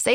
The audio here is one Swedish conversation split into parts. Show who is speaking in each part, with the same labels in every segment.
Speaker 1: Say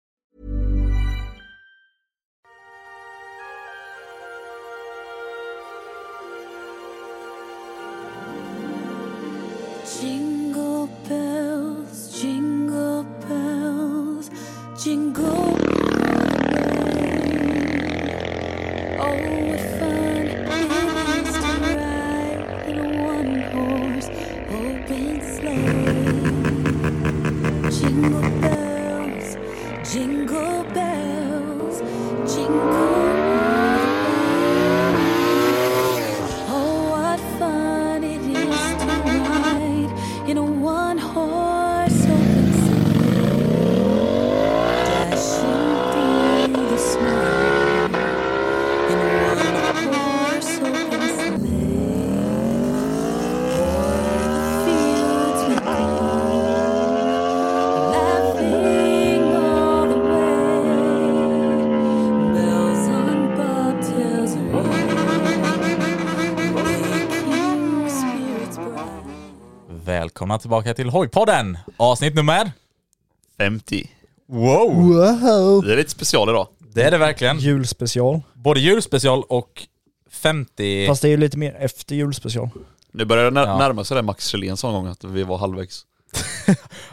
Speaker 2: Jingle bells, jingle bells, jingle all Oh, what fun it is to ride in a one-horse open sleigh. Jingle bells, jingle bells, jingle Oh, what fun it is to ride in a one horse open sleigh. Dashing through the snow in a one horse open sleigh. O'er the fields we go, laughing all the way. Bells on bobtails ring. Waking spirits bright.
Speaker 3: Välkomna tillbaka till Hojpodden! Avsnitt nummer...
Speaker 4: 50.
Speaker 3: Wow!
Speaker 4: Det är lite special idag.
Speaker 3: Det är det verkligen.
Speaker 5: Julspecial.
Speaker 3: Både julspecial och 50...
Speaker 5: Fast det är ju lite mer efter julspecial.
Speaker 4: Nu börjar det när-
Speaker 3: Ja.
Speaker 4: närma sig det Max Kjellén sa en gång att vi var halvvägs.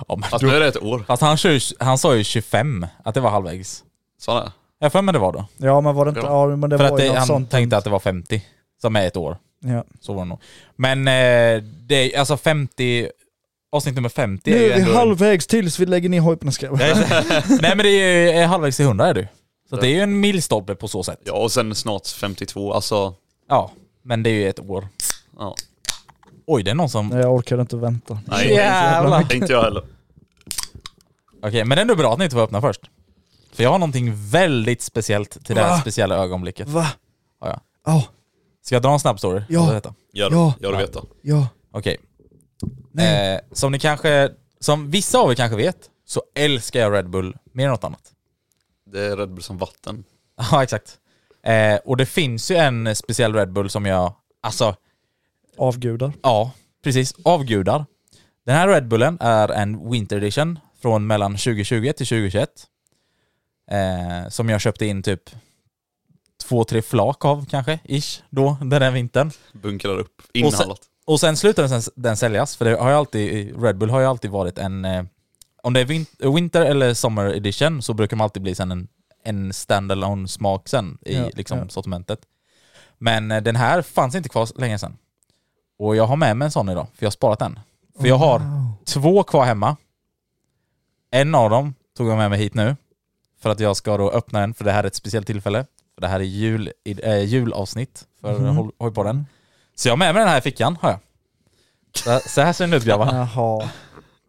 Speaker 3: Ja, men
Speaker 4: Fast
Speaker 3: tror-
Speaker 4: nu är det ett år.
Speaker 3: Fast han, kör, ju- han sa ju 25, att det var halvvägs.
Speaker 4: Så han är.
Speaker 3: Jag har för mig det var då.
Speaker 5: Ja men var det inte,
Speaker 4: Ja.
Speaker 5: ja, men det
Speaker 3: För
Speaker 5: var
Speaker 3: att
Speaker 5: ju
Speaker 3: det,
Speaker 5: något
Speaker 3: han
Speaker 5: sånt.
Speaker 3: tänkte att det var 50, som är ett år.
Speaker 5: Ja.
Speaker 3: Så var det nog. Men eh, det är alltså 50... Avsnitt nummer 50
Speaker 5: Nu
Speaker 3: är ju
Speaker 5: är vi
Speaker 3: ändå...
Speaker 5: halvvägs tills vi lägger ner hojpen och ska...
Speaker 3: Nej, Nej men det är ju är halvvägs till 100 är du. Så det är ju en milstolpe på så sätt.
Speaker 4: Ja och sen snart 52, alltså
Speaker 3: Ja, men det är ju ett år.
Speaker 4: ja.
Speaker 3: Oj, det är någon som...
Speaker 5: Nej, jag orkar inte vänta.
Speaker 4: Nej,
Speaker 3: Jävlar.
Speaker 4: inte- inte jag heller.
Speaker 3: Okej, men det är ändå bra att ni inte var öppna först. För jag har någonting väldigt speciellt till det här
Speaker 5: Va?
Speaker 3: speciella ögonblicket.
Speaker 5: Va?
Speaker 3: Ja, ja.
Speaker 5: Ja,
Speaker 3: Ska jag dra en snabb story?
Speaker 5: Ja.
Speaker 3: Eller detta?
Speaker 4: Gör det,
Speaker 5: Ja.
Speaker 4: gör det veta.
Speaker 5: ja.
Speaker 3: Okej.
Speaker 5: Nej.
Speaker 3: Eh, som ni kanske, som vissa av er kanske vet, så älskar jag Red Bull mer än något annat.
Speaker 4: Det är Red Bull som vatten.
Speaker 3: Ja, exakt. Eh, och det finns ju en speciell Red Bull som jag, alltså,
Speaker 5: Avgudar.
Speaker 3: ja, precis, avgudar. Den här Red Bullen är en Winter Edition från mellan 2020 till 2021. Eh, som jag köpte in typ två, tre flak av kanske, ish, då, den här vintern.
Speaker 4: Bunkrar upp, inhandlat.
Speaker 3: Och sen slutade den, den säljas, för det har ju alltid, Red Bull har ju alltid varit en, eh, om det är vin, Winter eller Summer Edition så brukar de alltid bli sen en, en standalone smak sen i
Speaker 5: Ja,
Speaker 3: liksom,
Speaker 5: ja.
Speaker 3: sortimentet. Men eh, den här fanns inte kvar så länge sen. Och jag har med mig en sån idag, för jag har sparat den. För jag har två kvar hemma. En av dem tog jag med mig hit nu, för att jag ska då öppna den, för det här är ett speciellt tillfälle. För det här är jul, i- eh, julavsnitt för mm. Hojpodden. Så jag har med mig den här i fickan, har jag. Så, så här ser den ut grabbar.
Speaker 5: Jaha.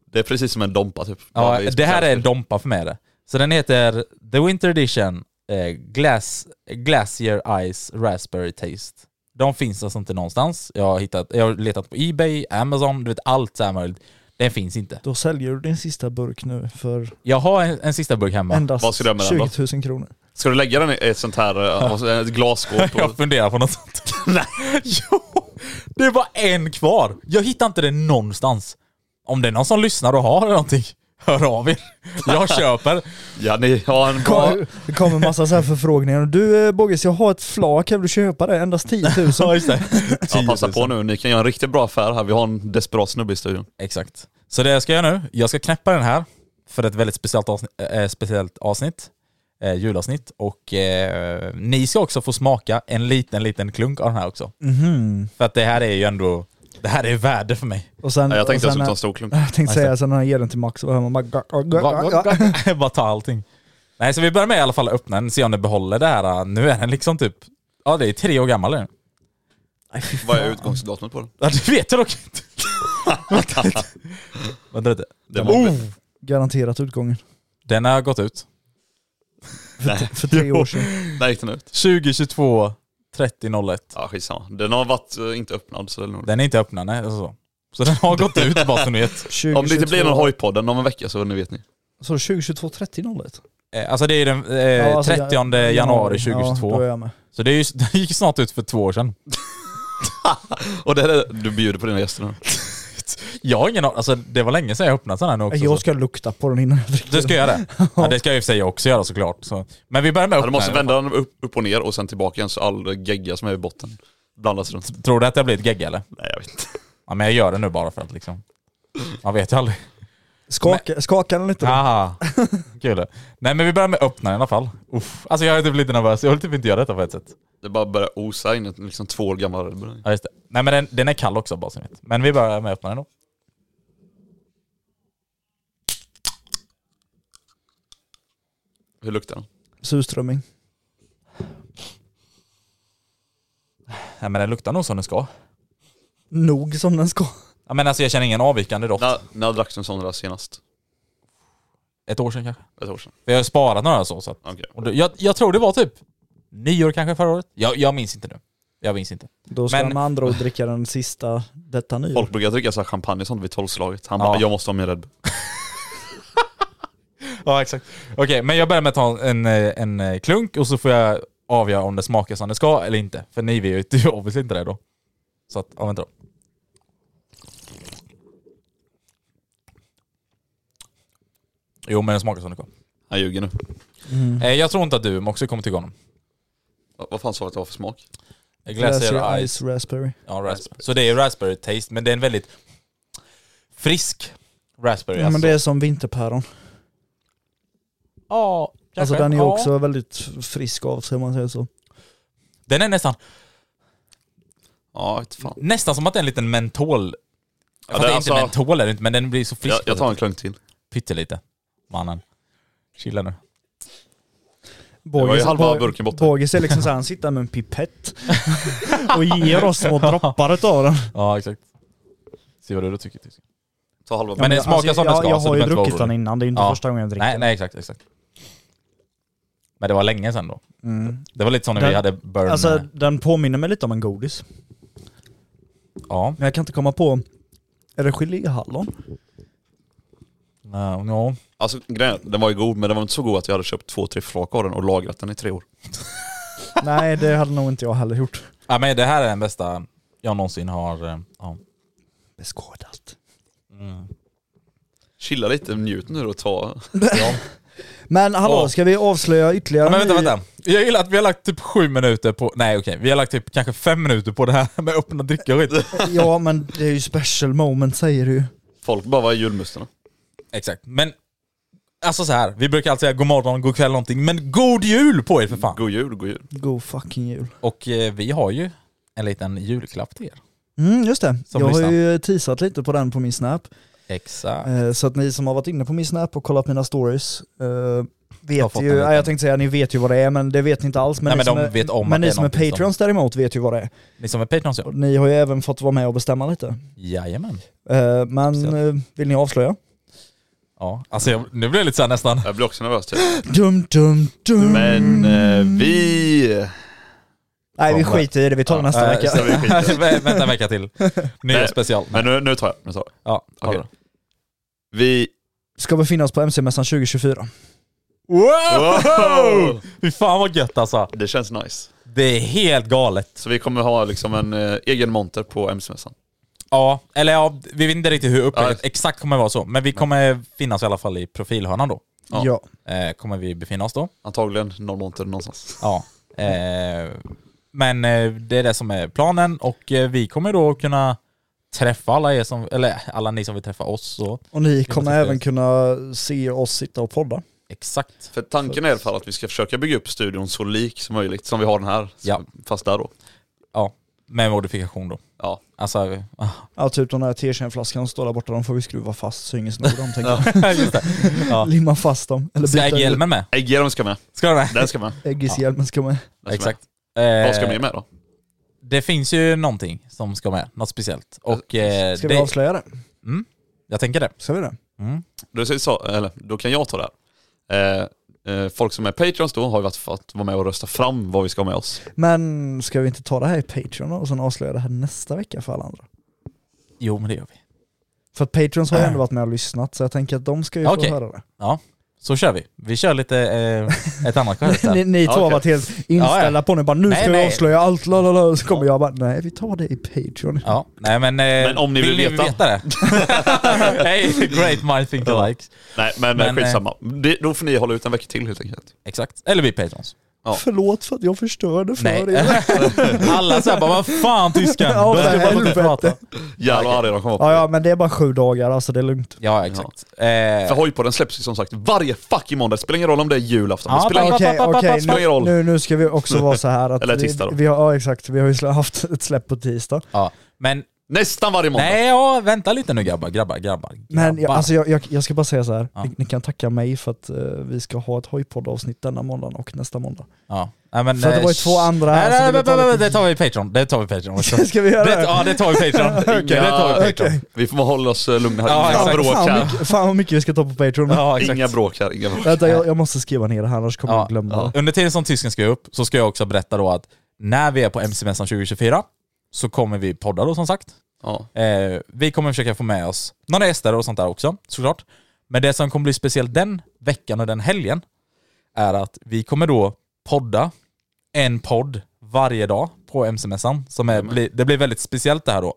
Speaker 4: Det är precis som en dompa typ.
Speaker 3: Ja,
Speaker 4: Bara
Speaker 3: det här är en
Speaker 4: speciellt.
Speaker 3: Dompa för mig. det. Så den heter The Winter Edition eh, Glass, Glacier Ice Raspberry Taste. De finns alltså inte någonstans. Jag har, hittat, jag har letat på Ebay, Amazon, du vet allt så här möjligt. Den finns inte.
Speaker 5: Då säljer du din sista burk nu för
Speaker 3: Jag har en, en sista burk hemma.
Speaker 5: endast
Speaker 4: Vad ska du göra med den då?
Speaker 5: 20 000 kronor.
Speaker 4: Ska du lägga den i ett sånt här eh, vad- ett glasskåp?
Speaker 3: Jag
Speaker 4: Och...
Speaker 3: funderar på något sånt. Nej. jo! Det var en kvar. Jag hittar inte den någonstans. Om det är någon som lyssnar och har någonting, hör av er. Jag köper.
Speaker 4: Ja, ni har en bra...
Speaker 5: Kom, det kommer en massa så här förfrågningar. Du eh, Boggis, jag har ett flak, kan du köpa det? Endast 10 000.
Speaker 3: Ja, just det.
Speaker 4: Ja, passa på nu, ni kan göra en riktigt bra affär här. Vi har en desperat snubbe i studion.
Speaker 3: Mm. Exakt. Så det jag ska göra nu, jag ska knäppa den här för ett väldigt speciellt avsnitt, eh, speciellt avsnitt eh, julavsnitt. Och eh, ni ska också få smaka en liten, liten klunk av den här också. För att det här är ju ändå, det här är värde för mig.
Speaker 5: Och sen,
Speaker 4: Ja, jag
Speaker 5: och
Speaker 4: tänkte jag skulle
Speaker 5: sen,
Speaker 4: ta en stor klunk.
Speaker 5: jag tänkte säga, sen när han ger den till Max, och hör man bara... "Gack, gack, gack, gack."
Speaker 3: Bara ta allting. Nej, så vi börjar med i alla fall att öppna den, se om den behåller det här. Nu är den liksom typ, ja det är tre år gammal nu.
Speaker 4: Vad är utgångsdatumet på den?
Speaker 3: Ja, det vet jag dock inte. Vänta lite.
Speaker 4: Det var
Speaker 3: Oh!
Speaker 5: Garanterat utgången.
Speaker 3: Den har gått ut.
Speaker 5: För tre år sedan.
Speaker 4: Där gick den ut.
Speaker 3: 2022 3001.
Speaker 4: Ja, skitsamma. Den har varit eh, inte öppnad så det är nog...
Speaker 3: Den är inte öppnad, nej. Alltså. Så den har gått ut bara så ni vet.
Speaker 5: 2022,
Speaker 4: Om det inte blir någon hojpodden om en vecka så nu vet ni.
Speaker 5: Så 2022 30 01?
Speaker 3: Eh, Alltså det är den eh,
Speaker 5: Ja, alltså,
Speaker 3: 30 januari 2022.
Speaker 5: Ja, då är jag med.
Speaker 3: Så det är ju, den gick snart ut för två år sedan.
Speaker 4: Och det är det du bjuder på dina gäster nu.
Speaker 3: Jag har ingen an- alltså det var länge sedan jag öppnat den här nu också.
Speaker 5: Eh, Jag
Speaker 3: så.
Speaker 5: ska lukta på den innan jag dricker
Speaker 3: Du ska
Speaker 5: den.
Speaker 3: göra det? Ja, det ska jag i och för sig också göra såklart. Så. Men vi börjar med att
Speaker 4: Ja,
Speaker 3: öppna
Speaker 4: du måste
Speaker 3: den.
Speaker 4: vända den upp, upp och ner och sen tillbaka igen så all gegga som är i botten blandas runt.
Speaker 3: Tror du att det har blivit gegga eller?
Speaker 4: Nej jag vet inte.
Speaker 3: Ja men jag gör det nu bara för att liksom. Man vet ju aldrig.
Speaker 5: Skaka, skaka den lite då.
Speaker 3: Aha. Kul. Nej men vi börjar med att öppna den i alla fall. Uff. Alltså jag är typ lite nervös, jag vill typ inte göra detta på ett sätt.
Speaker 4: Det bara börjar osa in ett liksom två år gammal Red Bull.
Speaker 3: Ja just det. Nej men den, den är kall också bara så ni vet. Men vi börjar med att öppna den då.
Speaker 4: Hur luktar den?
Speaker 5: Surströmming.
Speaker 3: Nej men den luktar nog som den ska.
Speaker 5: Nog som den ska.
Speaker 3: Ja, men alltså jag känner ingen avvikande doft.
Speaker 4: När, när drack du en sån där senast?
Speaker 3: Ett år sedan kanske.
Speaker 4: Ett år sedan?
Speaker 3: För jag har sparat några så. så att,
Speaker 4: Okej.
Speaker 3: och då, jag, jag tror det var typ nyår kanske förra året. Jag, jag minns inte nu. Jag minns inte.
Speaker 5: Då ska
Speaker 3: Men-
Speaker 5: han med andra ord dricka den sista detta nyår.
Speaker 4: Folk brukar dricka så här champagne och sånt vid tolvslaget. Han
Speaker 3: Ja.
Speaker 4: bara 'Jag måste ha min Red Bull'
Speaker 3: Ja exakt. Okej, men jag börjar med att ta en, eh, en eh, klunk och så får jag avgöra om det smakar som det ska eller inte. För ni vet ju obviously inte det då. Så att, ja vänta då. Jo men den smakar som det ska.
Speaker 4: Han ljuger nu.
Speaker 5: Mm.
Speaker 3: Eh, jag tror inte att du också kommer tycka om den.
Speaker 4: Va- Vad fan sa du att det var för smak?
Speaker 3: Glacier Ice.
Speaker 5: raspberry.
Speaker 3: Ja, raspberry. Så det är raspberry taste, men det är en väldigt frisk raspberry. alltså.
Speaker 5: Ja, men det är som vinterpäron.
Speaker 3: ja,
Speaker 5: Alltså
Speaker 3: kanske.
Speaker 5: den är ju
Speaker 3: Ja.
Speaker 5: också väldigt frisk av sig om man säger så.
Speaker 3: Den är nästan,
Speaker 4: Ja, inte fan.
Speaker 3: nästan som att det är en liten mentol.
Speaker 4: Ja,
Speaker 3: Fast det är
Speaker 4: alltså-
Speaker 3: inte mentol är det inte, men den blir så frisk. typ
Speaker 4: Jag, jag tar en klunk till.
Speaker 3: Pyttelite. Mannen. Chilla nu.
Speaker 5: Bogis,
Speaker 4: var ju halva
Speaker 5: Bo-
Speaker 4: burken borta.
Speaker 5: Bogis är liksom såhär, han sitter med en pipett och ger oss små droppar utav den.
Speaker 3: Ja, exakt. Se vad du tycker. tycker.
Speaker 4: Ta halva
Speaker 3: Men- den
Speaker 5: Alltså, jag-
Speaker 3: smakar som den
Speaker 5: jag,
Speaker 3: ska,
Speaker 5: Jag
Speaker 3: så
Speaker 5: har
Speaker 3: du behöver
Speaker 5: ju
Speaker 3: inte vara
Speaker 5: druckit den
Speaker 3: orolig.
Speaker 5: innan, det är ju inte
Speaker 3: Ja.
Speaker 5: första gången jag dricker
Speaker 3: Nej,
Speaker 5: den.
Speaker 3: nej, exakt, exakt. Men det var länge sedan då. Det var lite som när vi
Speaker 5: Mm. Den-
Speaker 3: hade burn.
Speaker 5: Alltså den påminner mig lite om en godis.
Speaker 3: ja.
Speaker 5: Men jag kan inte komma på, är det geléhallon?
Speaker 3: No, no.
Speaker 4: Alltså grejen är, den var ju god men den var inte så god att jag hade köpt två, tre flak av den och lagrat den i tre år.
Speaker 5: nej det hade nog inte jag heller gjort.
Speaker 3: Ja, men det här är den bästa jag någonsin har... eh, Ja.
Speaker 5: Beskådat.
Speaker 4: Chilla lite, njut nu och ta...
Speaker 5: Men hallå,
Speaker 3: Åh.
Speaker 5: ska vi avslöja ytterligare
Speaker 3: Ja, men vänta,
Speaker 5: en ny-
Speaker 3: vänta. Jag gillar att vi har lagt typ sju minuter på... Nej okej, vi har lagt typ kanske fem minuter på det här med öppna dricka och skit.
Speaker 5: Ja men det är ju special moment säger du ju.
Speaker 4: Folk bara, vad är julmusten?
Speaker 3: Exakt, men... Alltså så här, vi brukar alltid säga god morgon, god kväll någonting, men god jul på er för fan!
Speaker 4: God jul, god jul.
Speaker 5: God fucking jul.
Speaker 3: Och eh, vi har ju en liten julklapp till er.
Speaker 5: Mm, just det.
Speaker 3: Som
Speaker 5: jag
Speaker 3: lyssnar.
Speaker 5: har ju teasat lite på den på min snap.
Speaker 3: Exakt.
Speaker 5: Eh, Så att ni som har varit inne på min snap och kollat mina stories eh,
Speaker 3: Har
Speaker 5: vet
Speaker 3: fått
Speaker 5: ju,
Speaker 3: en liten-
Speaker 5: nej, jag tänkte säga ni vet ju vad det är men det vet ni inte alls. Men
Speaker 3: Nej,
Speaker 5: ni
Speaker 3: men
Speaker 5: som
Speaker 3: de
Speaker 5: är,
Speaker 3: vet om att
Speaker 5: men
Speaker 3: det är
Speaker 5: ni som är
Speaker 3: någonting som-
Speaker 5: patreons däremot vet ju vad det är.
Speaker 3: Ni som är Patreons ja.
Speaker 5: Och ni har ju även fått vara med och bestämma lite.
Speaker 3: Jajamän.
Speaker 5: Eh, Men
Speaker 3: Precis.
Speaker 5: eh, vill ni avslöja?
Speaker 3: Ja, alltså jag, nu blir jag lite såhär nästan...
Speaker 4: Jag blir också nervös typ.
Speaker 5: Dum, dum, dum.
Speaker 4: Men eh, vi...
Speaker 5: Nej vi skiter i det, vi tar det nästa
Speaker 3: Äh,
Speaker 5: vecka.
Speaker 3: så vi skiter. Vänta en vecka till. Nya
Speaker 4: Nej,
Speaker 3: special.
Speaker 4: Men nu, nu tar jag, nu tar jag.
Speaker 3: Ja, ha det
Speaker 4: Okej.
Speaker 3: bra.
Speaker 4: Vi...
Speaker 5: Ska vi finnas på MC-mässan 2024?
Speaker 3: Wow! Fy fan vad gött alltså.
Speaker 4: Det känns nice.
Speaker 3: Det är helt galet.
Speaker 4: Så vi kommer ha liksom en eh, egen monter på MC-mässan.
Speaker 3: Ja, eller ja, vi vet inte riktigt hur upplägget
Speaker 4: Ja.
Speaker 3: exakt kommer vara så, men vi kommer finnas i alla fall i profilhörnan då.
Speaker 4: Ja.
Speaker 3: Eh, kommer vi befinna oss då.
Speaker 4: Antagligen någon monter någonstans.
Speaker 3: Ja. Eh, men eh, det är det som är planen och eh, vi kommer då kunna träffa alla er som, eller alla ni som vill träffa oss så.
Speaker 5: Och ni kommer
Speaker 3: måste
Speaker 5: även
Speaker 3: ses.
Speaker 5: kunna se oss sitta och podda.
Speaker 3: Exakt.
Speaker 4: För tanken är i alla fall att vi ska försöka bygga upp studion så lik som möjligt, som vi har den här.
Speaker 3: Ja.
Speaker 4: Fast där då.
Speaker 3: Ja, med modifikation då.
Speaker 4: Ja.
Speaker 3: Alltså,
Speaker 5: Ja, typ den här t-shirt-flaskan som står där borta, de får vi skruva fast så ingen snor dem tänker jag.
Speaker 3: just det. Ja.
Speaker 5: Limma fast dem. Eller
Speaker 3: Ska
Speaker 5: byta
Speaker 3: ägghjälmen med?
Speaker 4: Äggorm ska med.
Speaker 3: Ska du med?
Speaker 4: Den ska med.
Speaker 5: Äggishjälmen ska med.
Speaker 4: Den ska
Speaker 3: Exakt.
Speaker 4: Med. Vad ska
Speaker 3: Eh,
Speaker 4: vi med då?
Speaker 3: Det finns ju någonting som ska med, något speciellt. Och eh,
Speaker 5: Ska vi
Speaker 3: det,
Speaker 5: avslöja det?
Speaker 3: jag tänker det.
Speaker 5: Ska vi det?
Speaker 4: Då, säger så, eller, då kan jag ta det här. Eh, eh, folk som är Patreons då har ju varit fått vara med och rösta fram vad vi ska ha med oss.
Speaker 5: Men ska vi inte ta det här i Patreon då, och sen avslöja det här nästa vecka för alla andra?
Speaker 3: Jo, men det gör vi.
Speaker 5: För att Patreons har ju ändå varit med och lyssnat så jag tänker att de ska ju
Speaker 3: Ah. Okej.
Speaker 5: få höra det.
Speaker 3: Så kör vi. Vi kör lite eh, ett annat skämt
Speaker 5: Ni,
Speaker 3: här.
Speaker 5: ni två har
Speaker 4: Okej.
Speaker 5: varit helt inställda
Speaker 3: Ja, ja.
Speaker 5: på nu, bara nu
Speaker 3: Nej,
Speaker 5: ska vi
Speaker 3: nej.
Speaker 5: avslöja allt, lalala, så kommer jag bara nej vi tar det i Patreon.
Speaker 3: Ja, nej men... eh,
Speaker 4: Men om ni vill veta.
Speaker 3: det? hey, great mind think alike.
Speaker 4: Nej men,
Speaker 3: Men,
Speaker 4: men skitsamma. Det, då får ni hålla ut en vecka till helt enkelt.
Speaker 3: Exakt. Eller vi Patrons.
Speaker 4: Ja.
Speaker 5: Förlåt för att jag förstörde för
Speaker 3: Nej.
Speaker 5: er.
Speaker 3: Alla såhär bara, vad fan tysken?
Speaker 5: Ja,
Speaker 3: De ska
Speaker 5: för
Speaker 3: bara få
Speaker 5: helvete.
Speaker 3: prata.
Speaker 4: Jävlar vad arga de kommer
Speaker 5: Ja,
Speaker 4: vara
Speaker 5: ja men det är bara sju dagar alltså det är lugnt.
Speaker 3: Ja, exakt. Eh,
Speaker 4: För hojpodden släpps ju som sagt varje fucking måndag. Det spelar ingen roll om det är julafton. Det
Speaker 3: Ja,
Speaker 4: spelar
Speaker 3: tack.
Speaker 4: ingen...
Speaker 5: Okej,
Speaker 3: papp,
Speaker 5: okej,
Speaker 3: papp,
Speaker 4: spelar ingen roll.
Speaker 5: nu, nu ska vi också vara så här att
Speaker 4: Eller
Speaker 5: vi,
Speaker 4: tisdag då.
Speaker 5: vi har, ja exakt, vi har ju slä- haft ett släpp på tisdag.
Speaker 3: ja. Men,
Speaker 4: Nästan varje måndag.
Speaker 3: nej ja, vänta lite nu grabbar, grabbar, grabbar.
Speaker 5: Men jag,
Speaker 3: grabbar.
Speaker 5: alltså jag, jag, jag ska bara säga så här.
Speaker 3: Ja.
Speaker 5: Ni, ni kan tacka mig för att eh, vi ska ha ett hojpoddavsnitt denna måndagen och nästa måndag.
Speaker 3: Ja. Nej, men,
Speaker 5: För att det
Speaker 3: eh,
Speaker 5: var ju två andra här,
Speaker 3: Nej,
Speaker 5: så
Speaker 3: nej,
Speaker 5: det
Speaker 3: nej,
Speaker 5: tar
Speaker 3: nej, nej,
Speaker 5: lite-
Speaker 3: det tar vi i Patreon. Det tar vi i Patreon. också.
Speaker 5: Ska vi göra
Speaker 3: det?
Speaker 5: det?
Speaker 3: Ja, det tar vi i Patreon.
Speaker 4: Okej.
Speaker 3: Det tar vi i Patreon.
Speaker 4: Vi får hålla oss eh, lugna här.
Speaker 3: Ja,
Speaker 4: inga
Speaker 3: exakt.
Speaker 4: bråk
Speaker 5: Fan,
Speaker 4: här.
Speaker 5: mycket, fan vad mycket vi ska ta på Patreon.
Speaker 3: Ja, exakt.
Speaker 4: Inga bråk här. Inga bråk.
Speaker 5: Vänta jag, jag måste skriva ner det här annars kommer
Speaker 3: Ja,
Speaker 5: jag glömma
Speaker 3: ja.
Speaker 5: det.
Speaker 3: Under tiden som tysken ska upp så ska jag också berätta då att när vi är på MC-mässan 2024 så kommer vi podda då som sagt.
Speaker 4: Ja.
Speaker 3: Eh, vi kommer försöka få med oss några gäster och sånt där också såklart. Men det som kommer bli speciellt den veckan och den helgen är att vi kommer då podda en podd varje dag på MC-mässan. Som är, blir- det blir väldigt speciellt det här då.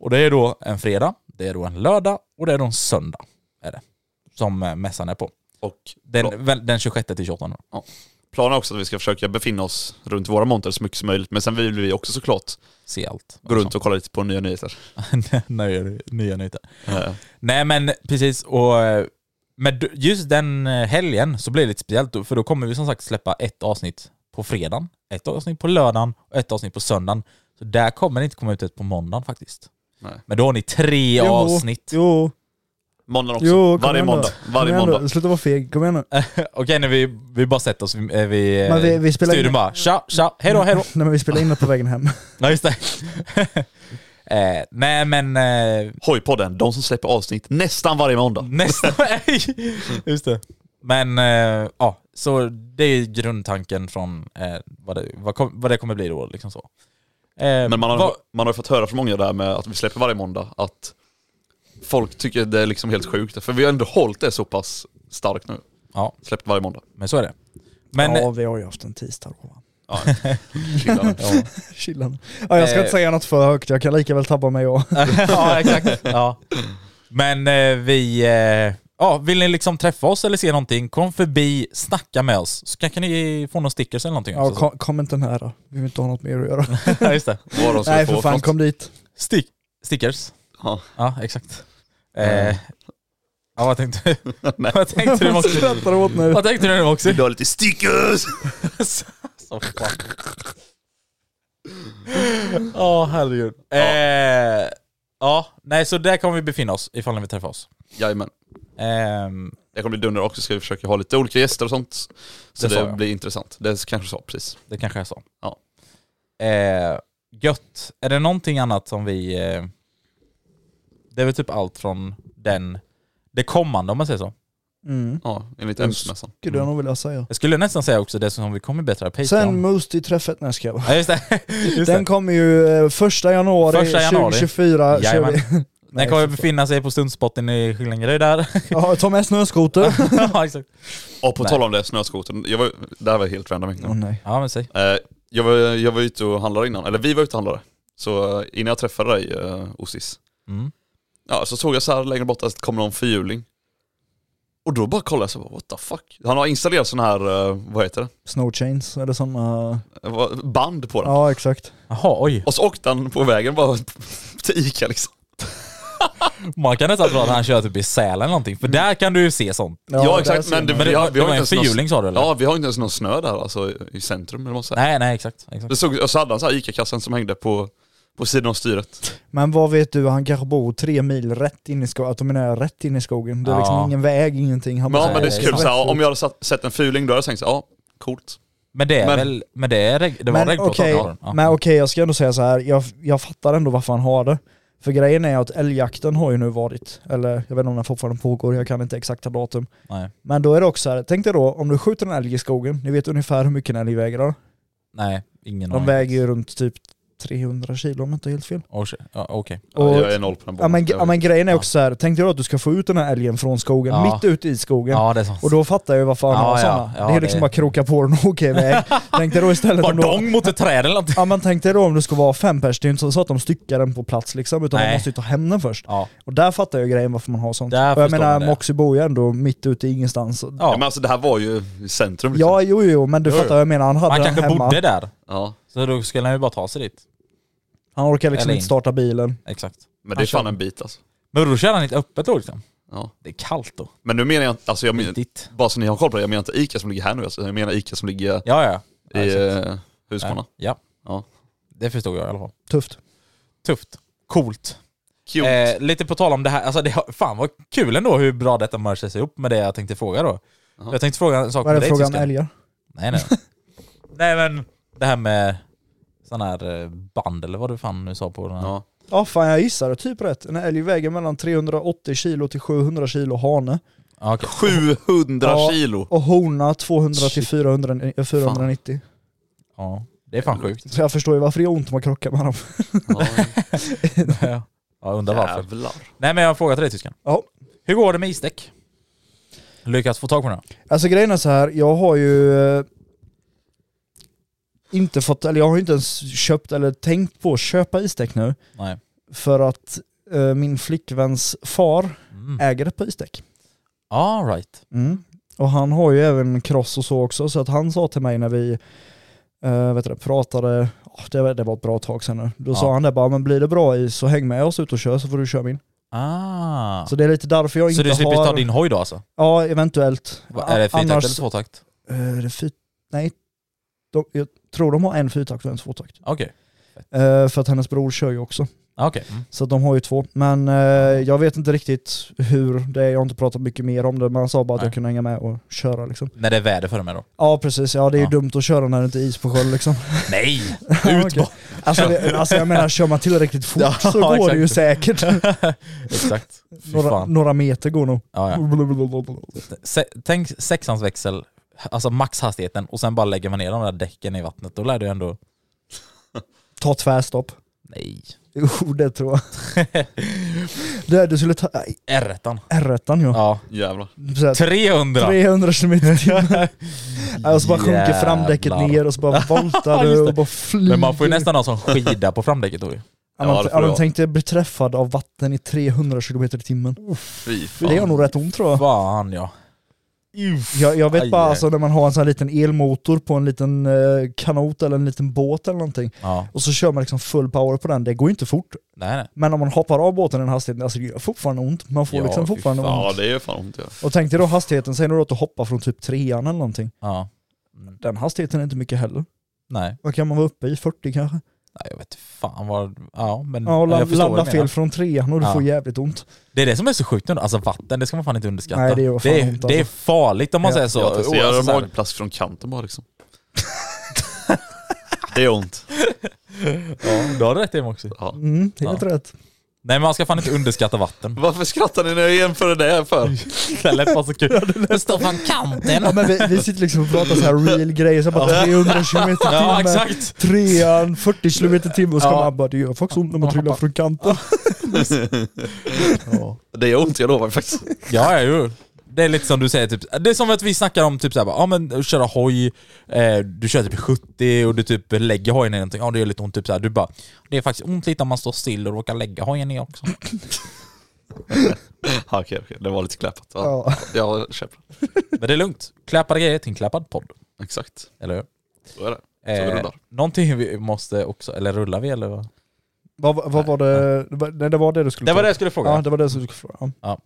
Speaker 3: Och det är då en fredag, det är då en lördag och det är då en söndag. Är det, som eh, mässan är på.
Speaker 4: Och
Speaker 3: Den, väl- den 26 till 28 då.
Speaker 4: planen är också att vi ska försöka befinna oss runt våra monter så mycket som möjligt. Men sen vill vi också såklart
Speaker 3: Se allt. Alltså.
Speaker 4: gå runt och kolla lite på nya nyheter.
Speaker 3: nya, nya nyheter.
Speaker 4: Eh,
Speaker 3: Nej men precis, och eh, men du- just den eh, helgen så blir det lite speciellt då, för då kommer vi som sagt släppa ett avsnitt på fredagen, ett avsnitt på lördagen och ett avsnitt på söndagen. Så där kommer det inte komma ut ett på måndagen faktiskt.
Speaker 4: Nej.
Speaker 3: Men då har ni tre
Speaker 5: Jo,
Speaker 3: avsnitt.
Speaker 5: Jo,
Speaker 4: Måndag också.
Speaker 5: jo, kom
Speaker 4: varje
Speaker 5: igen då.
Speaker 4: måndag.
Speaker 5: Kom
Speaker 4: Varje
Speaker 5: igen då.
Speaker 4: måndag.
Speaker 5: Sluta vara feg, kom igen nu.
Speaker 3: Okej, när vi, vi bara sätter oss vid, eh, vid,
Speaker 5: Men vi-
Speaker 3: eh,
Speaker 5: vi spelar
Speaker 3: studion
Speaker 5: in-
Speaker 3: bara tja, tja, hejdå, hejdå.
Speaker 5: Nej men vi spelar in det på vägen hem.
Speaker 3: Nej just det. eh, nej men eh,
Speaker 4: Hojpodden, de som släpper avsnitt nästan varje måndag.
Speaker 3: Nästa väg! Just det. Men eh, ja, så det är grundtanken från eh, vad, det, vad, kom, vad det kommer bli då. Liksom så. Eh,
Speaker 4: Men man har,
Speaker 3: vad-
Speaker 4: man har ju fått höra från många där med att vi släpper varje måndag att folk tycker det är liksom helt sjukt. För vi har ändå hållit det så pass starkt nu.
Speaker 3: Ja,
Speaker 4: Släppt varje måndag.
Speaker 3: men så är det. Men eh,
Speaker 5: ja vi har ju haft en tisdag då. va.
Speaker 4: Chillar.
Speaker 3: ja.
Speaker 5: Chilla nu. Ja, jag ska
Speaker 3: Eh.
Speaker 5: inte säga något för högt, jag kan lika väl tabba mig jag.
Speaker 3: ja, exakt. Ja. Men eh, vi... Eh, ja, vill ni liksom träffa oss eller se någonting, kom förbi, snacka med oss. Så kanske ni få någon stickers eller någonting.
Speaker 5: Ja,
Speaker 3: också.
Speaker 5: kom, kom inte nära. Vi vill inte ha något mer att göra.
Speaker 3: Ja, just det.
Speaker 4: Vad de ska
Speaker 5: Nej
Speaker 4: få
Speaker 5: för fan,
Speaker 4: något.
Speaker 5: kom dit.
Speaker 3: Stick, stickers.
Speaker 4: Ja.
Speaker 3: Ja, exakt.
Speaker 4: Mm.
Speaker 3: Eh, ja, vad tänkte du? vad tänkte du
Speaker 5: Jag
Speaker 3: Moxie?
Speaker 5: skrattar åt nu.
Speaker 3: Vad tänkte du nu Moxie?
Speaker 4: Du har lite stickers!
Speaker 3: Så Ja, herregud. Eh, ja, nej så där kommer vi befinna oss ifall ni vill träffa oss.
Speaker 4: Jajamän.
Speaker 3: Ehm,
Speaker 4: Jag kommer bli dunder också, ska vi försöka ha lite olika gäster och sånt. Så
Speaker 3: Det
Speaker 4: det,
Speaker 3: sa jag.
Speaker 4: blir intressant. Det kanske sa precis.
Speaker 3: det kanske är så.
Speaker 4: Ja.
Speaker 3: Eh, gött. Är det någonting annat som vi... Eh, det är väl typ allt från den... Det kommande om man säger så.
Speaker 5: Mm.
Speaker 4: Ja, enligt
Speaker 5: Mm.
Speaker 4: MC-mässan.
Speaker 5: Skulle jag nog vilja säga.
Speaker 3: Jag skulle nästan säga också det som vi kommer bättre Patreon.
Speaker 5: Sen Moostie-träffet, nej ska jag bara.
Speaker 3: ja, just det. Just
Speaker 5: Den kommer ju eh, första januari,
Speaker 3: Första januari.
Speaker 5: 2024.
Speaker 3: det.
Speaker 5: Kör
Speaker 3: Jajamän.
Speaker 5: vi.
Speaker 3: Den kommer befinna sig på stundspotten i Skillingaryd där.
Speaker 5: Ja, ta med snöskoter.
Speaker 3: ja, exakt.
Speaker 4: Och på
Speaker 3: Nej.
Speaker 4: tal om det, snöskotern. Jag var, det här var helt random. egentligen.
Speaker 5: Åh nej.
Speaker 3: Ja men säg.
Speaker 4: Eh, jag, var, jag var ute och handlade innan, eller vi var ute och handlade. Så eh, innan jag träffade dig, eh, Osis,
Speaker 3: Mm.
Speaker 4: ja, så såg jag så här längre bort att det kom någon fyrhjuling. Och då bara kollade jag så bara, what the fuck. Han har installerat sån här, eh, vad heter det,
Speaker 5: Snow chains eller sådana.
Speaker 4: Eh, vad- band på den.
Speaker 5: Ja exakt.
Speaker 3: Jaha, oj.
Speaker 4: Och så åkte han på vägen bara till Ica liksom.
Speaker 3: Man kan nästan tro att han kör typ i Sälen eller någonting, för där kan du ju se sånt.
Speaker 4: Ja,
Speaker 5: Mm. där
Speaker 4: exakt,
Speaker 5: ser
Speaker 4: men, det,
Speaker 5: man.
Speaker 3: Men det
Speaker 4: vi, har,
Speaker 3: var-
Speaker 4: vi
Speaker 3: det
Speaker 4: har
Speaker 3: var en
Speaker 4: inte ens någon-
Speaker 3: fyrhjuling sa du, eller?
Speaker 4: Ja, vi har inte ens någon snö där alltså i- i centrum eller vad man säger.
Speaker 3: Nej, nej exakt. exakt.
Speaker 4: Det såg, och så hade han så här Ica-kassan som hängde på, på sidan av styret.
Speaker 5: Men vad vet du, han kanske bor tre mil rätt in i skogen, att de menar rätt in i skogen. Det är liksom
Speaker 3: Ja.
Speaker 5: ingen väg, ingenting. Han
Speaker 4: Men, ja,
Speaker 5: bara-
Speaker 4: men det är så kul,
Speaker 5: Rätt
Speaker 4: så här,
Speaker 5: ut.
Speaker 4: om jag hade satt, sett en fuling då hade jag tänkt så här, ja, coolt.
Speaker 3: Men det är
Speaker 4: Men-
Speaker 3: väl, men det, är, reg- det var
Speaker 5: Men
Speaker 3: regnplåt
Speaker 5: okej,
Speaker 3: han har den. Ja.
Speaker 5: men okej, jag ska ändå säga så här. Jag, jag fattar ändå varför han har det. För grejen är att älgjakten har ju nu varit, eller jag vet inte om den fortfarande pågår, jag kan inte exakta datum.
Speaker 3: Nej.
Speaker 5: Men då är det också så här, tänk dig då om du skjuter en älg i skogen, ni vet ungefär hur mycket en älg väger.
Speaker 3: nej, ingen
Speaker 5: De
Speaker 3: aning.
Speaker 5: väger ju runt typ 300 kilo om jag inte är helt fel.
Speaker 3: Oh, shit. ja, Okej.
Speaker 4: Ja,
Speaker 5: Och-
Speaker 4: jag är noll på den
Speaker 5: Ja men, ja,
Speaker 4: Jag-
Speaker 5: men grejen är
Speaker 3: Ja.
Speaker 5: också så här, tänk dig då att du ska få ut den här älgen från skogen,
Speaker 3: Ja.
Speaker 5: mitt ute i skogen.
Speaker 3: Ja det är sant.
Speaker 5: Och då fattar jag ju varför han
Speaker 3: Ja,
Speaker 5: har
Speaker 3: ja.
Speaker 5: sådana.
Speaker 3: Ja,
Speaker 5: det är
Speaker 3: det-
Speaker 5: liksom bara kroka på den och åka iväg. tänk dig då istället
Speaker 3: Bara
Speaker 5: om du...
Speaker 3: dong mot ett träd eller någonting.
Speaker 5: Ja men tänk dig då om du ska vara fem pers, det är ju inte så att de styckar den på plats liksom, utan de
Speaker 3: Nej.
Speaker 5: måste ju ta hem den först.
Speaker 3: Ja.
Speaker 5: Och där fattar jag grejen varför man har sånt.
Speaker 3: Där
Speaker 5: och jag
Speaker 3: förstår man
Speaker 5: menar
Speaker 3: det.
Speaker 5: Moxie bor ju ändå mitt ute i ingenstans.
Speaker 4: Ja,
Speaker 3: ja.
Speaker 4: men alltså det här var ju i centrum liksom.
Speaker 5: Ja jo jo, men du
Speaker 4: Jo,
Speaker 5: fattar
Speaker 4: jo.
Speaker 5: vad jag menar, han hade
Speaker 3: Han
Speaker 5: den
Speaker 3: kanske
Speaker 5: hemma.
Speaker 3: bodde där.
Speaker 4: Ja,
Speaker 3: Så då skulle han ju bara ta sig dit.
Speaker 5: Han orkar liksom
Speaker 3: Eller
Speaker 5: inte
Speaker 3: in.
Speaker 5: starta bilen.
Speaker 3: Exakt.
Speaker 4: men det är
Speaker 3: Han
Speaker 4: fan
Speaker 3: kör.
Speaker 4: en bit alltså.
Speaker 3: Men då kör han lite öppet då liksom.
Speaker 4: Ja.
Speaker 3: Det är kallt då.
Speaker 4: Men nu menar jag inte, alltså jag menar,
Speaker 3: Riktigt.
Speaker 4: bara så ni har koll på det, jag menar inte Ica som ligger här nu alltså. Jag menar Ica som ligger
Speaker 3: Ja ja. ja.
Speaker 4: i
Speaker 3: exakt.
Speaker 4: eh, Huskvarna.
Speaker 3: Ja.
Speaker 4: Ja.
Speaker 3: Det förstod jag i alla fall.
Speaker 5: Tufft.
Speaker 3: Tufft. Coolt.
Speaker 4: Cute.
Speaker 3: Eh, lite på tal om det här, alltså det, har- fan vad kul ändå hur bra detta merchar sig ihop med det jag tänkte fråga då. Jag tänkte fråga en sak
Speaker 5: Vad är det
Speaker 3: dig,
Speaker 5: frågan om
Speaker 3: Tyskland.
Speaker 5: älgar?
Speaker 3: Nej nej. nej men det här med sån här eh, band eller vad du fan nu sa på den här.
Speaker 4: ja.
Speaker 5: Ja fan jag gissade typ rätt. En älg väger mellan 380 kilo till 700 kilo hane.
Speaker 3: Ja, okej.
Speaker 4: 700
Speaker 5: Ja.
Speaker 4: kilo!
Speaker 5: Och hona 200 till 400, eh, 490.
Speaker 3: ja. Det är fan sjukt.
Speaker 5: Så jag förstår ju varför det gör ont om man krockar med dem.
Speaker 3: ja, jag undrar varför.
Speaker 4: Jävlar.
Speaker 3: Nej men jag har en fråga till dig tyskan.
Speaker 5: Ja.
Speaker 3: Hur går det med isdäck? Lyckats få tag på några?
Speaker 5: Alltså grejen är så här, jag har ju eh, inte fått, eller jag har ju inte ens köpt eller tänkt på att köpa isdäck nu.
Speaker 3: Nej.
Speaker 5: För att eh, min flickväns far
Speaker 3: Mm.
Speaker 5: äger ett par isdäck.
Speaker 3: All right.
Speaker 5: Mm. Och han har ju även cross och så också, så att han sa till mig när vi eh, vet du, det, pratade, åh, det, var- det var ett bra tag sedan nu, då
Speaker 3: Ja.
Speaker 5: sa han det bara, men blir det bra is så häng med oss ut och kör så får du köra min.
Speaker 3: Ah.
Speaker 5: Så det är lite därför jag
Speaker 3: Så
Speaker 5: inte
Speaker 3: du slipper
Speaker 5: har...
Speaker 3: ta din hoj då alltså?
Speaker 5: Ja, eventuellt.
Speaker 3: Va- Är det fyrtakt
Speaker 5: Annars-
Speaker 3: eller tvåtakt?
Speaker 5: Eh, är det fyr... Nej, de, jag tror de har en fyrtakt och en tvåtakt.
Speaker 3: Okej. Okay.
Speaker 5: Eh, för att hennes bror kör ju också.
Speaker 3: Okej. Mm.
Speaker 5: Så att de har ju två. Men eh, jag vet inte riktigt hur det är, jag har inte pratat mycket mer om det. Men han sa bara att
Speaker 3: Nej.
Speaker 5: jag kunde hänga med och köra liksom.
Speaker 3: När det är väder för mig då?
Speaker 5: Ja precis, ja det är ju
Speaker 3: Ja.
Speaker 5: dumt att köra när det inte är is på sjön liksom.
Speaker 3: Nej!
Speaker 5: Ja,
Speaker 3: Ut
Speaker 5: okej.
Speaker 3: bara!
Speaker 5: alltså, det, alltså jag menar, kör man tillräckligt fort
Speaker 3: Ja,
Speaker 5: så går det ju
Speaker 3: exakt.
Speaker 5: säkert.
Speaker 3: Exakt. Fy
Speaker 5: Några,
Speaker 3: fan.
Speaker 5: några meter går nog.
Speaker 3: Ja, ja. Se- tänk sexans växel, alltså maxhastigheten, och sen bara lägger man ner de där däcken i vattnet. Då lär du ändå...
Speaker 5: Ta tvärstopp.
Speaker 3: Nej.
Speaker 5: Jo det tror jag. det, du skulle ta
Speaker 3: R1.
Speaker 5: R1 ja.
Speaker 3: Ja.
Speaker 4: Jävlar.
Speaker 5: Så här,
Speaker 3: 300!
Speaker 5: 300 km i timmen. Ja, Och så bara sjunker
Speaker 3: Jävlar.
Speaker 5: framdäcket ner och så bara voltar
Speaker 3: Just
Speaker 5: du
Speaker 3: det.
Speaker 5: och bara flyger.
Speaker 3: Men man får ju nästan ha som skida på framdäcket då ju.
Speaker 5: Ja,
Speaker 4: Ja,
Speaker 5: man,
Speaker 4: det
Speaker 5: ja,
Speaker 4: får
Speaker 5: men
Speaker 4: jag.
Speaker 5: tänk dig bli träffad av vatten i 300 km i timmen.
Speaker 4: Fy fan.
Speaker 5: Det gör nog rätt ont tror jag.
Speaker 3: Fan ja.
Speaker 5: Jag, jag vet
Speaker 3: Aj,
Speaker 5: bara
Speaker 3: aj.
Speaker 5: alltså, när man har en sån här liten elmotor på en liten eh, kanot eller en liten båt eller någonting.
Speaker 3: Ja.
Speaker 5: Och så kör man liksom full power på den, det går ju inte fort.
Speaker 3: Nej nej.
Speaker 5: Men om man hoppar av båten i den hastigheten, alltså det gör fortfarande ont. Man får
Speaker 3: Ja,
Speaker 5: liksom
Speaker 3: fy
Speaker 5: fortfarande
Speaker 3: fan.
Speaker 4: Ja
Speaker 5: ont.
Speaker 4: det är ju fan ont ja.
Speaker 5: Och tänk dig då hastigheten, säg nu då att du hoppar från typ trean eller någonting.
Speaker 3: Ja.
Speaker 5: Den hastigheten är inte mycket heller.
Speaker 3: Nej.
Speaker 5: Vad kan man vara uppe i? 40 kanske?
Speaker 3: Nej, jag vet fan vad... Mm. Ja, men
Speaker 5: Ja, och
Speaker 3: eller
Speaker 5: land,
Speaker 3: jag förstår vad
Speaker 5: landa
Speaker 3: du menar.
Speaker 5: fel från trean och du
Speaker 3: Ja.
Speaker 5: får jävligt ont.
Speaker 3: Det är det som är så sjukt nu. Alltså vatten, det ska man fan inte underskatta.
Speaker 5: Nej, det gör fan
Speaker 3: det, är,
Speaker 5: ont,
Speaker 3: det är
Speaker 5: alltså.
Speaker 3: farligt om man
Speaker 5: Ja.
Speaker 3: säger så.
Speaker 4: Jag
Speaker 3: Och
Speaker 4: testerar
Speaker 3: alltså så här-
Speaker 4: magplask från kanten bara liksom. det är ont.
Speaker 3: Ja, du har rätt i också.
Speaker 4: Ja.
Speaker 5: Mm, helt
Speaker 3: Ja.
Speaker 5: rätt.
Speaker 3: Nej man ska fan inte underskatta vatten.
Speaker 4: Varför skrattar ni när jag jämför det här för?
Speaker 3: Det lät bara så kul. Det står fan kanten.
Speaker 5: Ja, men vi, vi sitter liksom och pratar så här real grejer, så bara 300 km
Speaker 3: Ja
Speaker 5: timme,
Speaker 3: exakt.
Speaker 5: trean, 40 km timme och så
Speaker 3: Ja.
Speaker 5: kommer man bara det gör faktiskt ont när man trillar från kanten.
Speaker 4: Det gör ont, jag lovar faktiskt.
Speaker 3: Ja, ja jo. Det är lite som du säger, typ, det är som att vi snackar om typ såhär, bara, ja men köra hoj, eh, du kör typ 70 och du typ lägger hojen i någonting, ja det gör lite ont, typ såhär, du bara, det är faktiskt ont lite om man står still och råkar lägga hojen i också.
Speaker 4: Ja, Ah, okej, okej. Det var lite kläpat. Ja.
Speaker 5: Ja.
Speaker 4: Jag köper det.
Speaker 3: Men det är lugnt, klappade grejer till en klappad podd,
Speaker 4: Exakt.
Speaker 3: eller hur?
Speaker 4: Så är det. Så vi
Speaker 3: Eh,
Speaker 4: rullar.
Speaker 3: någonting vi måste också, eller rullar vi eller? vad?
Speaker 5: Vad, vad var det, det var- nej det var det du skulle
Speaker 3: Det var det
Speaker 5: fråga.
Speaker 3: jag skulle fråga.
Speaker 5: Ja det var det som du skulle fråga. Ja.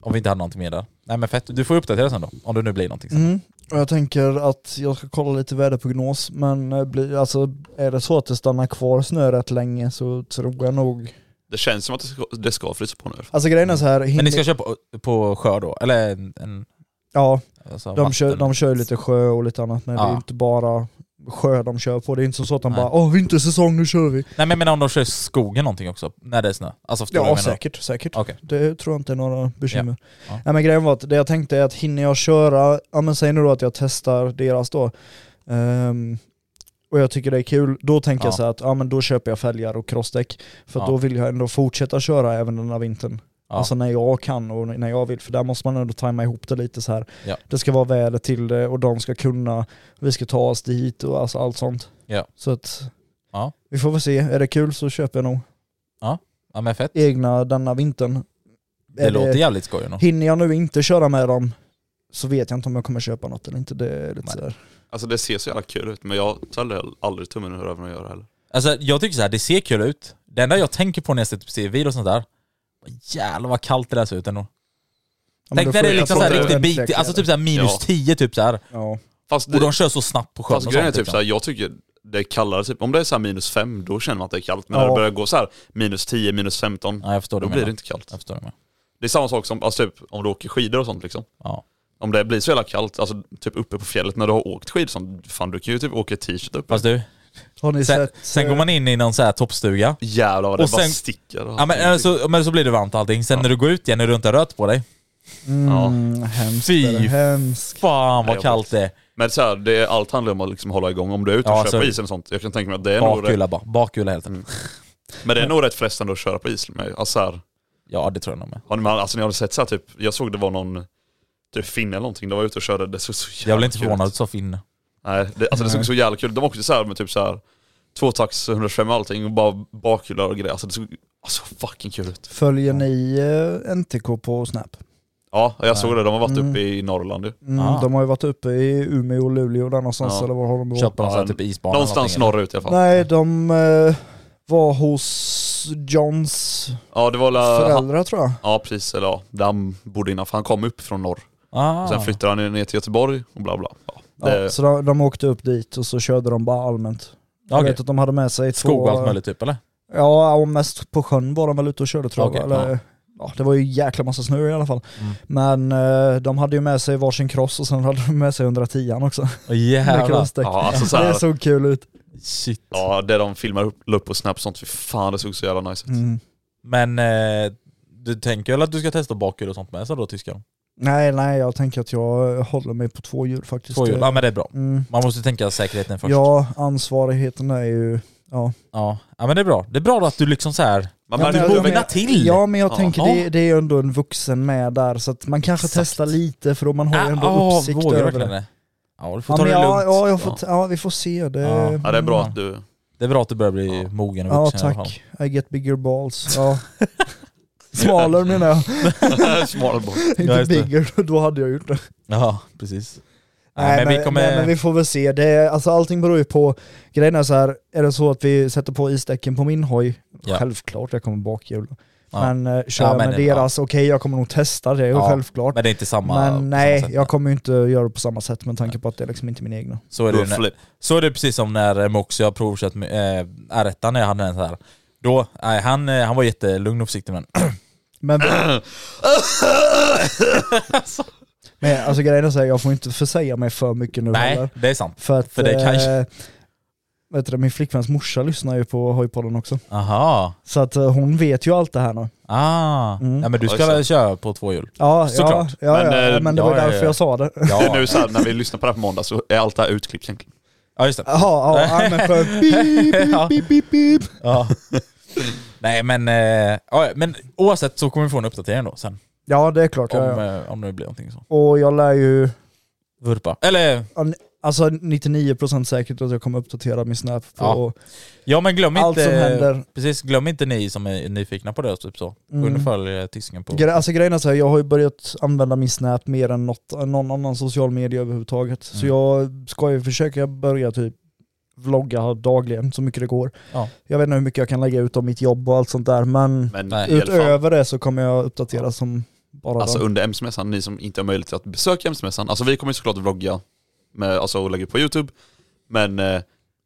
Speaker 3: Om vi inte hade någonting mer där. Nej men fett, du får uppdatera sen då, om det nu blir någonting sen.
Speaker 5: Mm. Och jag tänker att jag ska kolla lite väderprognos, men eh, blir- alltså, är det så att det stannar kvar snö rätt länge så tror jag nog...
Speaker 4: Det känns som att det ska, det ska frysa på nu.
Speaker 5: Alltså grejen är så här,
Speaker 3: Men
Speaker 5: hinner,
Speaker 3: ni ska köra på, på sjö då? Eller en... en
Speaker 5: ja,
Speaker 3: alltså
Speaker 5: de, kör,
Speaker 3: vatten.
Speaker 5: de kör ju lite sjö och lite annat, men det är
Speaker 3: Ja.
Speaker 5: ju inte bara sjö de kör på. Det är inte så att de
Speaker 3: Nej.
Speaker 5: bara åh vintersäsong, nu kör vi.
Speaker 3: Nej men jag menar om de kör i skogen någonting också, när det är snö? Alltså förstår du vad
Speaker 5: Ja
Speaker 3: jag menar?
Speaker 5: säkert, säkert.
Speaker 3: Okej.
Speaker 5: Det tror jag inte är några bekymmer.
Speaker 3: Ja.
Speaker 5: Nej, men grejen var att det jag tänkte är att hinner jag köra, ja men säg nu då att jag testar deras då, ehm, och jag tycker det är kul, då tänker
Speaker 3: Ja.
Speaker 5: jag så här att ja men då köper jag fälgar och crossdäck. För att
Speaker 3: Ja.
Speaker 5: då vill jag ändå fortsätta köra även den här vintern.
Speaker 3: Ja.
Speaker 5: Alltså när jag kan och när jag vill, för där måste man ändå tajma ihop det lite så här.
Speaker 3: Ja.
Speaker 5: Det ska vara väder till det och de ska kunna, vi ska ta oss dit och alltså allt sånt.
Speaker 3: Ja.
Speaker 5: Så att
Speaker 3: Ja.
Speaker 5: vi får väl se, är det kul så köper jag nog
Speaker 3: Ja men fett.
Speaker 5: egna denna vintern.
Speaker 3: Det
Speaker 5: Är
Speaker 3: låter jävligt skoj ändå.
Speaker 5: Hinner jag nu inte köra med dem så vet jag inte om jag kommer köpa något eller inte. Det är lite
Speaker 3: Nej.
Speaker 5: sådär.
Speaker 4: Alltså det ser så jävla kul ut, men jag tar aldrig- aldrig tummen ur öronen att göra heller.
Speaker 3: Alltså jag tycker så här, det ser kul ut. Det enda jag tänker på när jag ser typ ser videos och sånt där, vad jävlar vad kallt det där ser ut ändå.
Speaker 5: Ja, men då
Speaker 3: Tänk när
Speaker 5: får
Speaker 3: det är
Speaker 5: jag
Speaker 3: liksom
Speaker 5: få
Speaker 3: såhär
Speaker 4: det.
Speaker 3: riktigt
Speaker 5: ordentliga
Speaker 3: bit, alltså typ
Speaker 5: kläder.
Speaker 3: såhär minus
Speaker 4: Ja.
Speaker 3: 10 typ såhär.
Speaker 5: Ja.
Speaker 4: Fast,
Speaker 3: Och de
Speaker 4: det,
Speaker 3: kör så snabbt på sjön
Speaker 4: fast
Speaker 3: och
Speaker 4: grejen är
Speaker 3: sånt,
Speaker 4: typ
Speaker 3: liksom.
Speaker 4: såhär, jag tycker det är kallare typ. Om det är såhär minus fem, då känner man att det är kallt. Men
Speaker 5: Ja.
Speaker 4: när det börjar gå så här minus 10, minus 15,
Speaker 3: Ja jag förstår
Speaker 4: då
Speaker 3: det
Speaker 4: blir det inte kallt.
Speaker 3: Jag förstår det med.
Speaker 4: Det är samma sak som alltså, typ, om du åker skidor och sånt liksom.
Speaker 3: Ja.
Speaker 4: Om det blir så jävla kallt, alltså typ uppe på fjället när du har åkt skidor och sånt, fan du kan ju typ åka i t-shirt upp.
Speaker 3: Fast du,
Speaker 5: Har ni
Speaker 3: sen,
Speaker 5: sett?
Speaker 3: sen
Speaker 5: eh,
Speaker 3: går man in i någon såhär toppstuga.
Speaker 4: Jävlar vad det
Speaker 3: Och
Speaker 4: bara
Speaker 3: sen-
Speaker 4: sticker.
Speaker 3: Ja men,
Speaker 4: typ.
Speaker 3: alltså- eller så, men så blir det varmt allting, sen när du går ut igen är du inte rött på dig.
Speaker 5: Mm, hemskt.
Speaker 3: Fy
Speaker 5: är det, hemskt.
Speaker 3: Fan
Speaker 4: Nej,
Speaker 3: vad
Speaker 4: jag
Speaker 3: kallt det är.
Speaker 4: Men så här, det är, allt handlar om att liksom hålla igång. Om du är ute och
Speaker 3: Ja,
Speaker 4: kör
Speaker 3: så-
Speaker 4: på isen och sånt, jag kan tänka mig att det är nog rätt,
Speaker 3: Bakhjula bara, bakhjula helt enkelt.
Speaker 4: men det är nog rätt frestande att köra på is. Med. Alltså, så här,
Speaker 3: Ja det tror jag nog med.
Speaker 4: har ni, alltså ni har sett så här, typ, jag såg det var någon typ finne eller någonting, de var ute och körde, det såg så jävla
Speaker 3: Jag blir inte
Speaker 4: kul ut.
Speaker 3: förvånad att du sa finne.
Speaker 4: Nej, det, alltså det såg så jävla kul ut. De åkte så här med typ så här tvåtakts 125 och allting och bara bakhjular och grejer. Alltså det såg alltså, fucking kul ut.
Speaker 5: Följer ni eh, NTK på Snap?
Speaker 4: Ja, jag såg det. De har varit
Speaker 5: Mm.
Speaker 4: uppe i Norrland ju.
Speaker 5: Mm,
Speaker 3: Ah.
Speaker 5: De har ju varit uppe i Umeå och Luleå där någonstans
Speaker 4: Ja.
Speaker 5: eller var har de varit?
Speaker 3: Kört på någon sån här
Speaker 4: Ja,
Speaker 3: typ isbana eller
Speaker 4: Någonstans
Speaker 3: någonting,
Speaker 4: norrut i alla fall.
Speaker 5: Nej, de eh, var hos Johns
Speaker 4: Ja, det var la, han,
Speaker 5: föräldrar tror jag.
Speaker 4: Ja, precis. Eller ja, där han bodde innan. För han kom upp från norr.
Speaker 3: eller? Ah.
Speaker 4: Sen flyttade han ju ner till Göteborg och bla bla. Ja, det,
Speaker 5: Ja, så de, de åkte upp dit och så körde de bara allmänt. Jag
Speaker 3: Okej.
Speaker 5: vet att de hade med sig två...
Speaker 3: Skog och allt möjligt typ eller?
Speaker 5: Ja, och mest på sjön var de väl ute och körde tror
Speaker 3: Okej, Mm.
Speaker 5: jag. Eller, ja. det var ju jäkla massa snö i alla fall. Men eh, de hade ju med sig varsin cross och sen hade de med sig 110 också.
Speaker 3: Oh,
Speaker 5: Med
Speaker 3: jävlar.
Speaker 5: crossdäck.
Speaker 4: ja, alltså så
Speaker 5: det
Speaker 4: här,
Speaker 5: såg kul ut.
Speaker 3: Shit.
Speaker 4: Ja, det de filmar upp, la upp på Snap och sånt. Fy fan, det såg så jävla nice ut.
Speaker 5: Mm.
Speaker 3: Men eh, du tänker väl att du ska testa bakhjul och sånt med så då tyskar?
Speaker 5: Nej, nej, jag tänker att jag håller mig på två hjul faktiskt.
Speaker 3: Två hjul. Ja men det är bra.
Speaker 5: Mm.
Speaker 3: Man måste tänka säkerheten först.
Speaker 5: Ja, ansvarigheten är ju... Ja.
Speaker 3: Ja. ja men det är bra. Det är bra att du liksom så här.
Speaker 4: Man
Speaker 5: Ja,
Speaker 4: märker-
Speaker 5: men-
Speaker 3: du
Speaker 5: ja, men-
Speaker 3: mognar till!
Speaker 5: Ja, men jag
Speaker 4: Ja.
Speaker 5: tänker det, det är ju ändå en vuxen med där, så att man kanske
Speaker 3: Exakt.
Speaker 5: testar lite för då man har ju ändå
Speaker 3: ah,
Speaker 5: uppsikt
Speaker 3: vågar du
Speaker 5: över
Speaker 3: verkligen
Speaker 5: det.
Speaker 3: det? Ja du får
Speaker 5: Ja,
Speaker 3: ta
Speaker 5: men
Speaker 3: det
Speaker 5: ja,
Speaker 3: lugnt.
Speaker 5: ja, jag får, ja. ja, vi får se. Det,
Speaker 3: Ja.
Speaker 4: ja, det är bra att du...
Speaker 3: Det är bra att du börjar bli
Speaker 4: Ja.
Speaker 3: mogen och
Speaker 5: Ja
Speaker 3: vuxen i alla fall.
Speaker 5: tack, I get bigger balls. Ja. Smalare menar jag,
Speaker 4: Smal boll.
Speaker 3: Ja,
Speaker 5: inte
Speaker 3: just det.
Speaker 5: bigger, då hade jag gjort det.
Speaker 3: Ja precis. Nej, men, vi kommer...
Speaker 5: nej, men vi får väl se. Det är, alltså, allting beror ju på, grejen är så här, är det så att vi sätter på isdäcken på min hoj,
Speaker 3: Ja.
Speaker 5: självklart jag kommer bakhjul.
Speaker 3: Ja.
Speaker 5: Men eh, kör
Speaker 3: Ja,
Speaker 5: jag
Speaker 3: men
Speaker 5: med
Speaker 3: det-
Speaker 5: deras, okej jag kommer nog testa det,
Speaker 3: Ja,
Speaker 5: självklart.
Speaker 3: men det är inte samma... på samma
Speaker 5: Men nej,
Speaker 3: sätt.
Speaker 5: jag kommer ju inte göra det på samma sätt med tanke på att det är liksom inte min egna.
Speaker 3: Så är det ju när-
Speaker 4: Flip.
Speaker 3: Så är det precis som när eh, Moxie har provkört med, eh, R1 när jag hade den så här. Då, nej, han, eh, han var jättelugn och försiktig med den.
Speaker 5: Men, men alltså grejen är så här, jag får inte försäga mig för mycket nu
Speaker 3: Nej,
Speaker 5: heller.
Speaker 3: det är sant.
Speaker 5: För att...
Speaker 3: För det kan ju-
Speaker 5: eh, vet du, det, min flickväns morsa lyssnar ju på hojpodden också.
Speaker 3: Aha.
Speaker 5: Så att eh, hon vet ju allt det här nu.
Speaker 3: Ah.
Speaker 5: Mm.
Speaker 3: Ja, men du ska
Speaker 4: Ja,
Speaker 3: väl köra på två hjul?
Speaker 5: Ja, ja,
Speaker 3: Såklart.
Speaker 5: ja,
Speaker 4: Men,
Speaker 5: ja,
Speaker 4: eh,
Speaker 5: men det
Speaker 3: ja,
Speaker 5: var ju
Speaker 3: ja, ja.
Speaker 5: därför jag sa det.
Speaker 3: Ja,
Speaker 4: Det är nu så här, när vi lyssnar på det här på måndag så är allt det här utklippt egentligen.
Speaker 3: ja just det.
Speaker 5: Jaha, ja, ja, men för beep,
Speaker 3: Ja.
Speaker 5: beep, beep, beep, beep.
Speaker 3: Ja. Nej men, eh, ja, men oavsett så kommer vi få en uppdatering då sen.
Speaker 5: Ja det är klart.
Speaker 3: Om,
Speaker 5: Ja, ja.
Speaker 3: eh, om det blir någonting så.
Speaker 5: Och jag lär ju,
Speaker 3: Vurpa. Eller,
Speaker 5: alltså 99% säkert att jag kommer uppdatera min snap på
Speaker 3: Ja. ja men glöm
Speaker 5: allt
Speaker 3: inte...
Speaker 5: som händer.
Speaker 3: Precis, glöm inte ni som är nyfikna på det och typ så. Gå in
Speaker 5: Mm.
Speaker 3: och följ Tyskingen på...
Speaker 5: Gre- alltså grejen är så här, jag har ju börjat använda min snap mer än något, någon annan social media överhuvudtaget. Så
Speaker 3: Mm.
Speaker 5: jag ska ju försöka börja typ vlogga dagligen så mycket det går.
Speaker 3: Ja.
Speaker 5: Jag vet inte hur mycket jag kan lägga ut om mitt jobb och allt sånt där men
Speaker 4: Men
Speaker 3: Nej.
Speaker 4: i alla fall,
Speaker 5: utöver det så kommer jag uppdatera som bara
Speaker 4: alltså
Speaker 5: den.
Speaker 4: under MC-mässan, ni som inte har möjlighet att besöka MC-mässan, alltså vi kommer ju såklart att vlogga med, alltså, och lägga upp på YouTube. Men eh,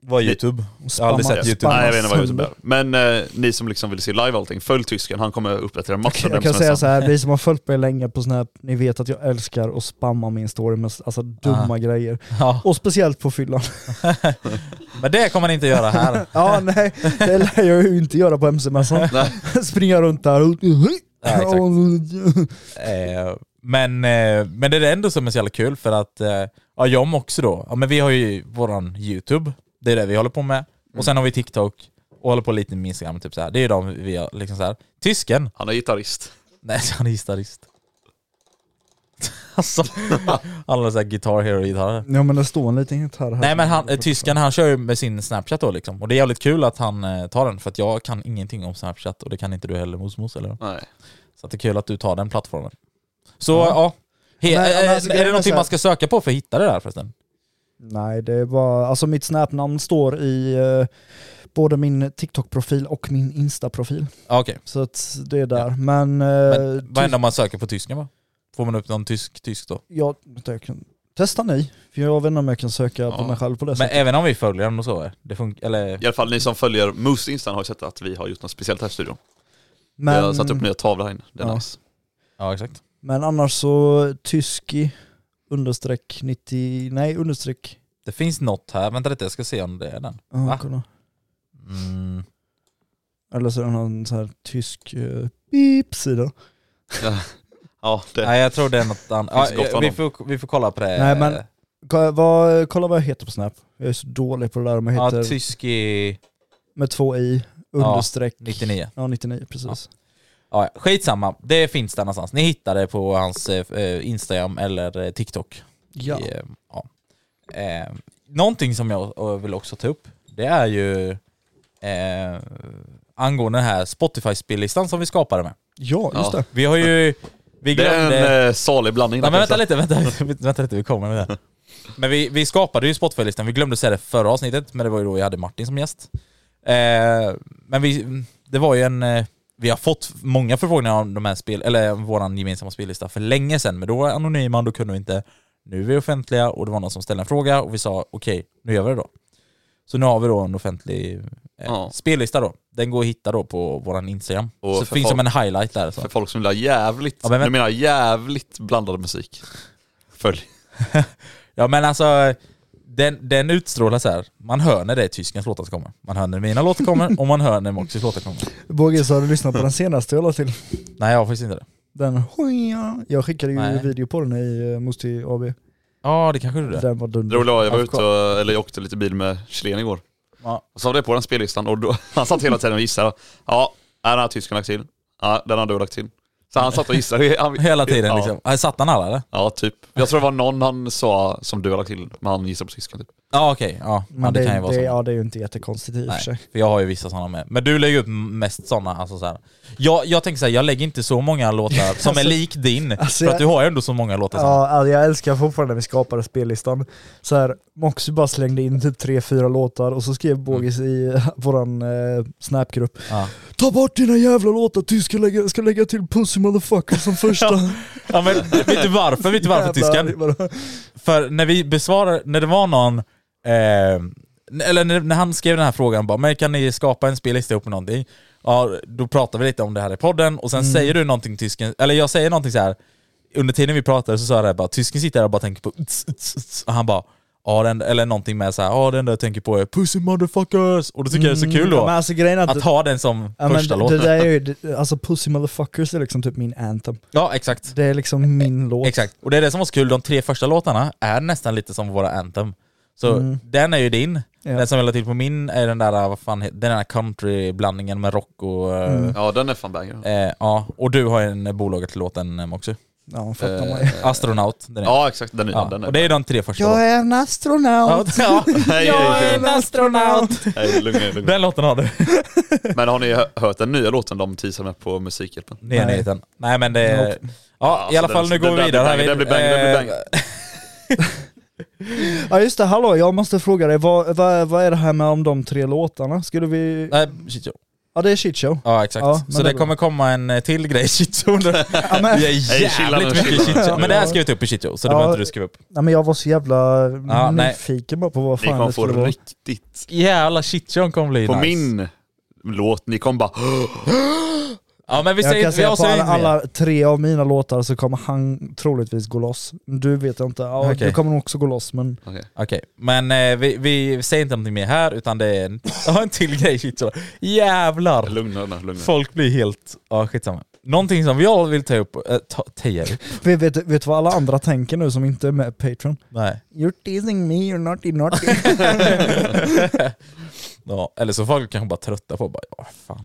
Speaker 3: Vad
Speaker 4: Ni-
Speaker 3: Youtube? Jag har aldrig
Speaker 5: Spamma-
Speaker 3: sett
Speaker 4: Nej,
Speaker 3: Youtube.
Speaker 5: spamma
Speaker 4: Nej, jag vet inte vad Youtube
Speaker 5: sönder.
Speaker 4: är. Men eh, ni som liksom vill se live allting, följ tysken. Han kommer uppdatera massor av
Speaker 5: Jag kan
Speaker 4: dem
Speaker 5: säga
Speaker 4: som
Speaker 5: så här, ni som har följt mig länge på Snap, ni vet att jag älskar att spamma min story med alltså, dumma
Speaker 4: Ah.
Speaker 3: Aha.
Speaker 5: grejer.
Speaker 3: Ja.
Speaker 5: Och speciellt på fyllan.
Speaker 3: Men det kommer ni inte göra här.
Speaker 5: ja nej, det lär jag ju inte göra på MC-mässan.
Speaker 4: är Nej,
Speaker 5: Springa runt där och...
Speaker 3: Ja, exakt. Eh, men, eh, men det är ändå som är så jävla kul för att eh, ja, jag också då, ja, men vi har ju våran YouTube, det är det vi håller på med. Och sen har vi TikTok och håller på lite med Instagram, typ så här. det är de vi har liksom så här. Tysken,
Speaker 4: Han är gitarrist.
Speaker 3: nej han är gitarrist. alltså, han har så här Guitar Hero-gitarrer.
Speaker 5: Ja men det står en liten gitarr här.
Speaker 3: Nej men han, eh, tysken han kör ju med sin Snapchat då liksom, och det är jävligt kul att han eh, tar den för att jag kan ingenting om Snapchat och det kan inte du heller Mosmos eller?
Speaker 4: Nej.
Speaker 3: Så att det är kul att du tar den plattformen. Så ja, He-
Speaker 5: Men,
Speaker 3: eh,
Speaker 5: men alltså,
Speaker 3: är
Speaker 5: grejen
Speaker 3: det
Speaker 5: är så
Speaker 3: någonting
Speaker 5: här-
Speaker 3: man ska söka på för att hitta det där förresten?
Speaker 5: Nej det är bara, alltså mitt Snap-namn står i eh, både min TikTok-profil och min Insta-profil.
Speaker 3: Ja, Okej,
Speaker 5: Så att det är där.
Speaker 3: Ja.
Speaker 5: Men... eh,
Speaker 3: men vad
Speaker 5: ty-
Speaker 3: händer om man söker på tysken va? Får man upp någon tysk, tysk då?
Speaker 5: jag, vänta, jag kan, testa ni, för jag vet inte om jag kan söka på
Speaker 4: Ja.
Speaker 5: mig själv på det
Speaker 3: Men
Speaker 5: sättet.
Speaker 3: även om vi följer den och så? eh, Det funkar, eller?
Speaker 4: I alla fall ni som följer Moose Instan har ju sett att vi har gjort något speciellt här i studion.
Speaker 5: Men,
Speaker 4: Vi har satt upp nya tavlor här inne. Det är
Speaker 5: Ja.
Speaker 4: nice.
Speaker 3: Ja exakt.
Speaker 5: men annars så, tyski understreck 90, nej understreck...
Speaker 3: Det finns något här, vänta lite jag ska se om det är den.
Speaker 5: Ja,
Speaker 3: Va?
Speaker 5: kolla.
Speaker 3: Mm.
Speaker 5: Eller så är det någon sån här tysk uh, beep-sida.
Speaker 4: Ja, det.
Speaker 3: Nej jag tror det är något annat.
Speaker 4: Finns gott
Speaker 3: Ja,
Speaker 4: om
Speaker 3: vi,
Speaker 4: dem.
Speaker 3: får, vi får kolla på det.
Speaker 5: Nej, men- Kolla vad, kolla vad jag heter på Snap. Jag är så dålig på det där om jag
Speaker 3: Ja,
Speaker 5: heter
Speaker 3: tysk i
Speaker 5: med två i, understreck...
Speaker 3: 99.
Speaker 5: Ja, 99 precis.
Speaker 3: Ja, ja. skitsamma, det finns där någonstans. Ni hittar det på hans eh, eh, Instagram eller eh, TikTok.
Speaker 5: Ja.
Speaker 3: I, eh, ja. Eh, någonting som jag eh, vill också ta upp, det är ju eh, angående den här Spotify-spellistan som vi skapade med.
Speaker 5: ja, just
Speaker 4: Ja.
Speaker 5: det.
Speaker 3: Vi har ju... Vi
Speaker 4: Det
Speaker 3: glömde...
Speaker 4: är en eh, salig blandning.
Speaker 3: Nej,
Speaker 4: där,
Speaker 3: men
Speaker 4: kan
Speaker 3: vänta
Speaker 4: jag säga.
Speaker 3: lite, vänta, lite, vänta lite, vi kommer med det. Men vi, vi skapade ju Spotify-listan, vi glömde säga det förra avsnittet, men det var ju då jag hade Martin som gäst. Eh, men vi, det var ju en... eh, Vi har fått många förfrågningar om de här spel, eller om våran gemensamma spellista för länge sedan, men då var jag anonyma och då kunde vi inte. Nu är vi offentliga och det var någon som ställde en fråga och vi sa okej, nu gör vi det då. Så nu har vi då en offentlig eh,
Speaker 4: Ja.
Speaker 3: spellista då. Den går att hitta då på våran Instagram.
Speaker 4: Och
Speaker 3: så
Speaker 4: för
Speaker 3: finns
Speaker 4: folk-
Speaker 3: som en highlight där. Så.
Speaker 4: För folk som vill ha jävligt,
Speaker 3: Ja, men vänta.
Speaker 4: nu menar jag jävligt blandad musik. Följ.
Speaker 3: Ja men alltså, den, den utstrålar så här. man hör när det är tyskens låtar som kommer. Man hör när mina låtar kommer och man hör när Moxys låtar kommer.
Speaker 5: Båge, så har du lyssnat på den senaste jag la till?
Speaker 3: Nej jag har faktiskt inte det.
Speaker 5: Den hoja. Jag skickade ju
Speaker 3: Nej.
Speaker 5: video på den i uh, Musti AB.
Speaker 3: Ja det kanske du är.
Speaker 5: Den var
Speaker 4: Det
Speaker 5: dunder.
Speaker 4: roliga var jag var
Speaker 3: Of
Speaker 4: ute och, eller jag åkte lite bil med Chilen igår.
Speaker 3: Ja.
Speaker 4: Och så var det på den spellistan och då, han satt hela tiden och gissade. Ja, den har tysken lagt till. Ja, den har du lagt till. Så han satt och gissade. Han,
Speaker 3: Hela tiden
Speaker 4: ja,
Speaker 3: liksom. Äh, Satt han alla eller?
Speaker 4: Ja, typ. Jag tror det var någon han sa som du har lagt till, men han gissade på tysken typ.
Speaker 3: Ja okej, ja. ja
Speaker 5: Men
Speaker 3: det,
Speaker 5: det,
Speaker 3: kan ju vara
Speaker 5: det,
Speaker 3: så.
Speaker 5: ja, det är ju inte jättekonstigt i och för
Speaker 3: Nej,
Speaker 5: sig.
Speaker 3: för jag har ju vissa sådana med. Men du lägger upp mest sådana. Alltså så här. Jag, jag tänker såhär, jag lägger inte så många låtar som är
Speaker 5: Alltså-
Speaker 3: lik din.
Speaker 5: alltså
Speaker 3: för
Speaker 5: jag-
Speaker 3: att du har ju ändå så många låtar. Ja.
Speaker 5: Ja, alltså jag älskar fortfarande när vi skapade spellistan. Så här, Moxie bara slängde in typ tre, fyra låtar och så skrev Bågis i våran eh, snapgrupp
Speaker 3: Mm. Ja.
Speaker 5: Ta bort dina jävla låtar, du ska lägga, ska lägga till Pussy Motherfucker som första.
Speaker 3: ja men vet du varför? Vet du varför
Speaker 5: Jävlar,
Speaker 3: tysken?
Speaker 5: det var-
Speaker 3: För när vi besvarade, när det var någon, eh, eller när, när han skrev den här frågan bara, men kan ni skapa en spellista ihop med någonting? Ja, då pratar vi lite om det här i podden och sen
Speaker 5: Mm.
Speaker 3: säger du någonting tysken, eller jag säger någonting så här. under tiden vi pratade så sa jag det här bara, tysken sitter där och bara tänker på uts, uts, uts, och han bara ja, den, eller någonting med så här, ja den där jag tänker på är Pussy motherfuckers. Och då tycker jag det är så kul då.
Speaker 5: Ja, men alltså grejen är att,
Speaker 3: att ha den som
Speaker 5: ja, men
Speaker 3: första
Speaker 5: det,
Speaker 3: låt.
Speaker 5: det där är ju, det- alltså Pussy Motherfuckers är liksom typ min anthem.
Speaker 3: Ja exakt.
Speaker 5: Det är liksom min låt.
Speaker 3: Eh, Exakt. Och det är det som var så kul, de tre första låtarna är nästan lite som våra anthem. Så den är ju din.
Speaker 5: Mm. Ja.
Speaker 3: Den som jag la till på min är den där, vad fan heter, den där countryblandningen med rock och... eh,
Speaker 5: Mm.
Speaker 4: Ja den är fan banger.
Speaker 3: Eh, ja, och du har en eh, bolaget till låten eh, också.
Speaker 5: Ja, fattar man ju.
Speaker 4: Eh,
Speaker 3: Astronaut. Den är.
Speaker 4: Ja exakt, den är, ja.
Speaker 3: Ja,
Speaker 4: den är.
Speaker 3: Och det är de tre första
Speaker 5: Jag är en astronaut!
Speaker 3: låtarna. Ja,
Speaker 4: Nej,
Speaker 3: Jag
Speaker 4: nej,
Speaker 3: är
Speaker 4: nej.
Speaker 3: en astronaut!
Speaker 4: Nej, lugn, ner, lugn. ner.
Speaker 3: Den låten har du.
Speaker 4: Men har ni hö- hört den nya låten de teasar med på Musikhjälpen?
Speaker 3: Det är
Speaker 5: Nej.
Speaker 3: nyheten. Nej men det är... Ja, i
Speaker 4: Alltså,
Speaker 3: alla fall
Speaker 4: den-
Speaker 3: nu går
Speaker 4: den-
Speaker 3: vi
Speaker 4: den
Speaker 3: vidare. här
Speaker 4: blir
Speaker 3: vid-
Speaker 4: bang, den blir bang, den
Speaker 3: eh,
Speaker 4: blir bang.
Speaker 5: Ja just det, hallå jag måste fråga dig, vad, vad, vad är det här med om de tre låtarna? Skulle vi...
Speaker 3: Nej, shit show.
Speaker 5: Ja det är shit show.
Speaker 3: Ja exakt.
Speaker 5: Ja, men
Speaker 3: så
Speaker 5: det
Speaker 3: det,
Speaker 5: är bra.
Speaker 3: kommer komma en eh, till grej i shit show. Det
Speaker 5: Ja, men,
Speaker 3: är
Speaker 4: chilla nu,
Speaker 3: jävligt mycket
Speaker 4: chilla nu.
Speaker 3: shit show. Men det här ska jag ta upp i shit show, så det
Speaker 5: Ja.
Speaker 3: behöver inte du skriva upp.
Speaker 5: nej, men jag var så jävla
Speaker 3: nej.
Speaker 5: nyfiken bara på vad
Speaker 4: Ni
Speaker 5: fan
Speaker 4: kommer
Speaker 5: det
Speaker 4: få
Speaker 5: skulle vara.
Speaker 4: riktigt...
Speaker 3: Jävla shit show kommer bli
Speaker 4: På
Speaker 3: nice.
Speaker 4: min låt, ni kommer bara
Speaker 3: Ja men vi
Speaker 5: Jag
Speaker 3: säger
Speaker 5: kan
Speaker 3: inte... vi
Speaker 5: säga på
Speaker 3: avslöjar
Speaker 5: alla,
Speaker 3: inte mer.
Speaker 5: alla tre av mina låtar så kommer han troligtvis gå loss. Du vet jag inte, ja,
Speaker 3: Okej.
Speaker 5: du kommer nog också gå loss men...
Speaker 4: Okej.
Speaker 3: Okej, men eh, vi, vi säger inte någonting mer här utan det är en, ja, en till grej. Shit, så. Jävlar!
Speaker 4: Lugna er, lugna er.
Speaker 3: Folk blir helt... Ja, skitsamma. Någonting som jag vill ta upp... Äh, ta, teja upp?
Speaker 5: Vet, vet, vet du vad alla andra tänker nu som inte är med Patreon?
Speaker 3: Nej.
Speaker 5: You're teasing me, you're naughty naughty.
Speaker 3: Ja, eller så folk kanske bara trötta på bara, ja fan.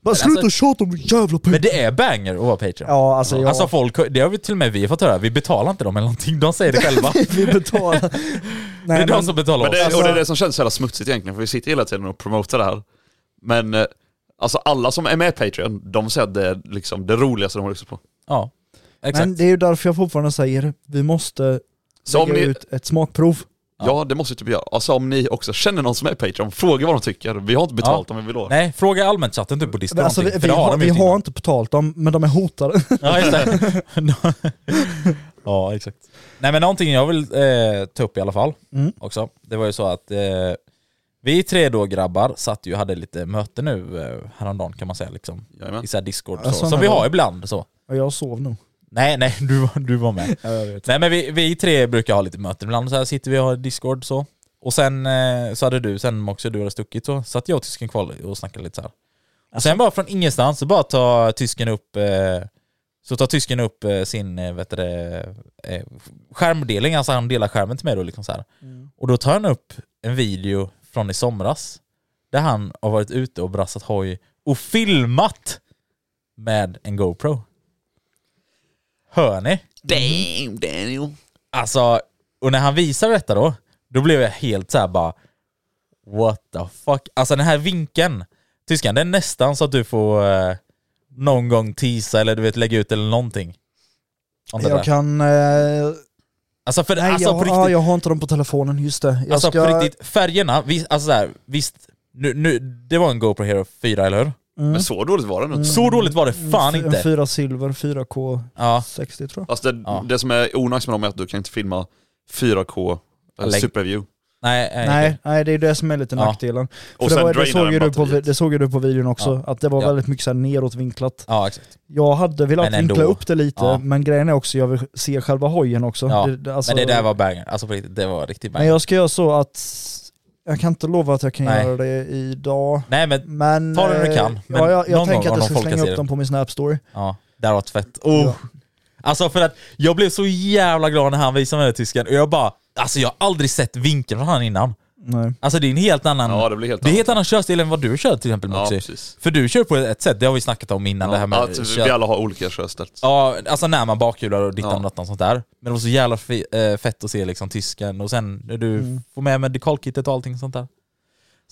Speaker 5: Bara sluta tjata om din jävla Patreon.
Speaker 3: Alltså- Men det är banger att vara Patreon.
Speaker 5: Ja alltså jag...
Speaker 3: Alltså folk, det har vi till och med vi fått höra, vi betalar inte dem eller någonting, de säger det själva.
Speaker 5: vi betalar.
Speaker 3: det är
Speaker 5: Nej,
Speaker 3: de
Speaker 5: men-
Speaker 3: som betalar
Speaker 4: Men
Speaker 3: oss.
Speaker 4: det,
Speaker 5: Alltså-
Speaker 4: och det är det som känns så jävla smutsigt egentligen, för vi sitter hela tiden och promotar det här. Men eh, alltså alla som är med i Patreon, de säger att det är liksom det roligaste de har lyssnat på.
Speaker 3: Ja, exakt.
Speaker 5: Men det är ju därför jag fortfarande säger, vi måste
Speaker 4: Så om
Speaker 5: lägga
Speaker 4: ni,
Speaker 5: ut ett smakprov.
Speaker 4: ja det måste vi typ göra. Alltså om ni också känner någon som är Patreon, fråga vad de tycker. Vi har inte betalt
Speaker 3: Ja.
Speaker 4: om vi vill ha det.
Speaker 3: Nej, fråga allmänt chatten typ på Discord
Speaker 5: Men alltså, vi,
Speaker 3: någonting, för
Speaker 5: vi,
Speaker 3: det har
Speaker 5: har,
Speaker 3: de
Speaker 5: vi
Speaker 3: ju inte
Speaker 5: har inte betalt dem, men de är hotade.
Speaker 3: Ja, just det. ja, exakt. Nej, men någonting jag vill eh, ta upp i alla fall
Speaker 5: Mm.
Speaker 3: också. Det var ju så att eh, vi tre då grabbar satt ju och hade lite möte nu eh, häromdagen kan man säga liksom.
Speaker 4: Jajamän.
Speaker 3: I så här Discord
Speaker 5: Ja,
Speaker 3: så,
Speaker 5: sån
Speaker 3: som
Speaker 5: här
Speaker 3: vi
Speaker 5: var-
Speaker 3: har ibland så.
Speaker 5: Och jag sov nog.
Speaker 3: Nej, nej, du, var- du var med.
Speaker 5: jag vet.
Speaker 3: Nej men vi, vi tre brukar ha lite möten ibland, så här sitter vi och har Discord så. Och sen eh, så hade du, sen också du hade stuckit så, satt jag och tysken kvar och snackade lite så här.
Speaker 5: Alltså-
Speaker 3: Och sen bara från ingenstans så bara tar tysken upp, eh, så tar tysken upp eh, sin, eh, vet du det, eh, skärmdelning, alltså han delar skärmen till mig då liksom så här.
Speaker 5: Mm.
Speaker 3: Och då tar han upp en video från i somras, där han har varit ute och brassat hoj och filmat med en GoPro. Hör ni?
Speaker 4: Damn Daniel.
Speaker 3: Alltså, och när han visade detta då, då blev jag helt så här bara What the fuck? Alltså den här vinkeln, tyskan, det är nästan så att du får eh, någon gång teasa eller du vet lägga ut eller någonting. Om det där.
Speaker 5: Jag kan... Eh,
Speaker 3: Alltså, för,
Speaker 5: nej,
Speaker 3: alltså
Speaker 5: jag,
Speaker 3: på riktigt,
Speaker 5: ja, jag har inte dem på telefonen, just det. Jag
Speaker 3: alltså
Speaker 5: ska,
Speaker 3: på riktigt, färgerna, vis, alltså så här, visst, nu, nu, det var en GoPro Hero 4 eller hur?
Speaker 4: Men så dåligt var det nog inte.
Speaker 3: Mm. Så
Speaker 5: Mm,
Speaker 3: dåligt var det fan
Speaker 5: en
Speaker 3: inte.
Speaker 5: 4 silver, 4K
Speaker 3: Ja,
Speaker 5: 60 tror jag.
Speaker 4: Alltså det,
Speaker 3: Ja.
Speaker 4: det som är onajs med dem är att du kan inte filma 4K eh,
Speaker 3: Lägg-
Speaker 4: Superview.
Speaker 3: nej, eh, nej.
Speaker 5: Nej, nej, det är det som är lite
Speaker 3: Ja.
Speaker 5: nackdelen.
Speaker 4: Och
Speaker 5: För det,
Speaker 4: sen
Speaker 5: var, det,
Speaker 4: drainar
Speaker 5: såg ju
Speaker 4: den
Speaker 5: du på, vi-
Speaker 4: batteriet.
Speaker 5: det såg ju du på videon också, att det var
Speaker 3: Ja.
Speaker 5: väldigt mycket så här nedåtvinklat.
Speaker 3: Ja, exakt.
Speaker 5: Jag hade velat
Speaker 3: Men ändå.
Speaker 5: vinkla upp det lite,
Speaker 3: Ja.
Speaker 5: men grejen är också jag vill se själva hojen också.
Speaker 3: Ja.
Speaker 5: alltså-
Speaker 3: Men det där var banger, alltså på riktigt, det var riktigt
Speaker 5: Men
Speaker 3: banger.
Speaker 5: jag ska göra så att jag kan inte lova att jag kan
Speaker 3: Nej.
Speaker 5: göra det idag.
Speaker 3: Nej men,
Speaker 5: Men,
Speaker 3: Ta det när du
Speaker 5: eh,
Speaker 3: kan, men
Speaker 5: ja, jag
Speaker 3: någon
Speaker 5: jag tänker
Speaker 3: gång
Speaker 5: att jag
Speaker 3: om folk
Speaker 5: ska
Speaker 3: kan
Speaker 5: slänga
Speaker 3: se
Speaker 5: upp
Speaker 3: det.
Speaker 5: dem på min Snap story.
Speaker 3: ja, där var tvätt. Oh. Alltså för att jag blev så jävla glad när han visade mig den här tysken och jag bara, alltså jag har aldrig sett vinkeln från han innan.
Speaker 5: Nej.
Speaker 3: Alltså det är en helt annan,
Speaker 4: Ja det blir helt
Speaker 3: det är en helt annan körstil än vad du kör till exempel
Speaker 4: Ja
Speaker 3: Moxie.
Speaker 4: precis. typ
Speaker 3: För du kör på ett sätt, det har vi snackat om innan det här med
Speaker 4: att vi
Speaker 3: kör-
Speaker 4: alla har olika körstel.
Speaker 3: Ja, alltså när man bakhjular och dittan
Speaker 4: Ja.
Speaker 3: och dattan och sånt där. Men det var så jävla fe- eh, fett att se liksom tysken och sen när du får med medikalkittet och allting sånt där.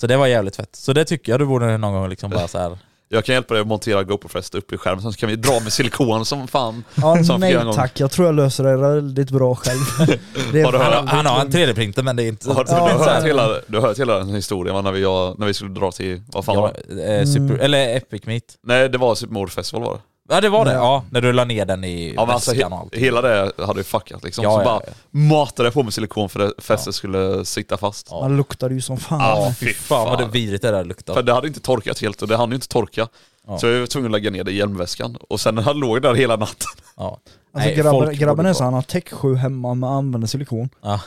Speaker 3: Så det var jävligt fett. Så det tycker jag du borde någon gång liksom bara så här.
Speaker 4: Jag kan hjälpa dig att montera GoPro-fäste upp i skärmen, sen så kan vi dra med silikon som fan.
Speaker 5: Ja,
Speaker 4: Som fyra
Speaker 5: nej
Speaker 4: gånger.
Speaker 5: tack, jag tror jag löser det väldigt bra själv. Det är
Speaker 4: Har du-
Speaker 3: Han, har-
Speaker 5: väldigt
Speaker 3: han har en
Speaker 5: lugnt.
Speaker 3: 3D-printer men det är inte...
Speaker 4: Har du,
Speaker 5: Ja,
Speaker 4: du, har
Speaker 5: så här.
Speaker 4: hört hela, du har hört hela den historien va, när vi, jag, när vi skulle dra till, vad fan var
Speaker 3: Ja,
Speaker 4: det?
Speaker 3: eh, super, Eller Epic Meet.
Speaker 4: Nej det var Supermordfestival var det.
Speaker 3: Ja det var det,
Speaker 5: Ja.
Speaker 3: ja. När du la ner den i
Speaker 4: Ja, men alltså,
Speaker 3: väskan
Speaker 4: he-
Speaker 3: och allt.
Speaker 4: hela det hade ju fuckat liksom.
Speaker 3: Ja,
Speaker 4: så
Speaker 3: ja,
Speaker 4: bara
Speaker 3: ja.
Speaker 4: matade jag på med silikon för att fästet skulle sitta fast.
Speaker 3: Ja.
Speaker 5: Man luktar ju som fan.
Speaker 4: Ah,
Speaker 3: Fy fan vad det vidrigt det där luktar.
Speaker 4: För det hade inte torkat helt och det hann ju inte torka.
Speaker 3: Ja.
Speaker 4: Så jag var tvungen att lägga ner det i hjälmväskan. Och sen han låg där hela natten.
Speaker 3: Ja.
Speaker 5: Alltså
Speaker 3: Nej,
Speaker 5: grabben,
Speaker 3: folk
Speaker 5: grabben
Speaker 3: borde
Speaker 5: är
Speaker 3: ta-
Speaker 5: så han har tech 7 hemma men använder silikon.
Speaker 3: Ja.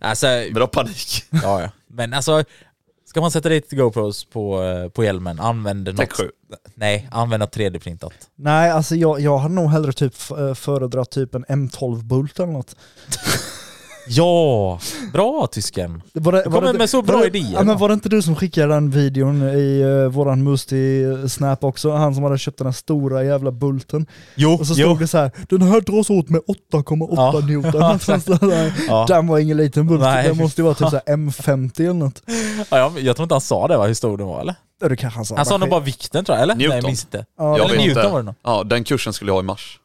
Speaker 3: Alltså,
Speaker 4: Men då panik.
Speaker 3: ja, ja. Men alltså, ska man sätta dit GoPros på, eh, på hjälmen, använd något...
Speaker 4: Tech sju.
Speaker 3: Nej, använd något 3D-printat.
Speaker 5: Nej, alltså jag, jag hade nog hellre typ f- eh, föredragit typ en M12-bult eller något.
Speaker 3: Ja! Bra tysken!
Speaker 5: Var det,
Speaker 3: Du kommer med så bra
Speaker 5: var det,
Speaker 3: idéer.
Speaker 5: Ja, men var det inte du som skickade den videon i eh, våran Musti-snap också? Han som hade köpt den här stora jävla bulten.
Speaker 3: Jo,
Speaker 5: Och så stod det så här, den här dras åt med 8,8
Speaker 3: Ja. Ja,
Speaker 5: newton. Alltså, Så
Speaker 3: exakt.
Speaker 5: stod det här,
Speaker 3: Ja.
Speaker 5: Den var ingen liten bult,
Speaker 3: Nej,
Speaker 5: den
Speaker 3: fy
Speaker 5: måste ju vara typ så här M50 eller något.
Speaker 3: Ja, jag, jag tror inte han sa det va, hur stor den var eller?
Speaker 5: Ja, Det kanske han sa.
Speaker 3: Han sa nog bara vikten tror jag, eller? Nej,
Speaker 4: Newton.
Speaker 3: jag minns inte.
Speaker 5: Ja,
Speaker 4: Jag
Speaker 3: eller
Speaker 4: vet
Speaker 3: Newton
Speaker 4: inte.
Speaker 3: var det nog.
Speaker 4: Ja, den kursen skulle jag ha i mars.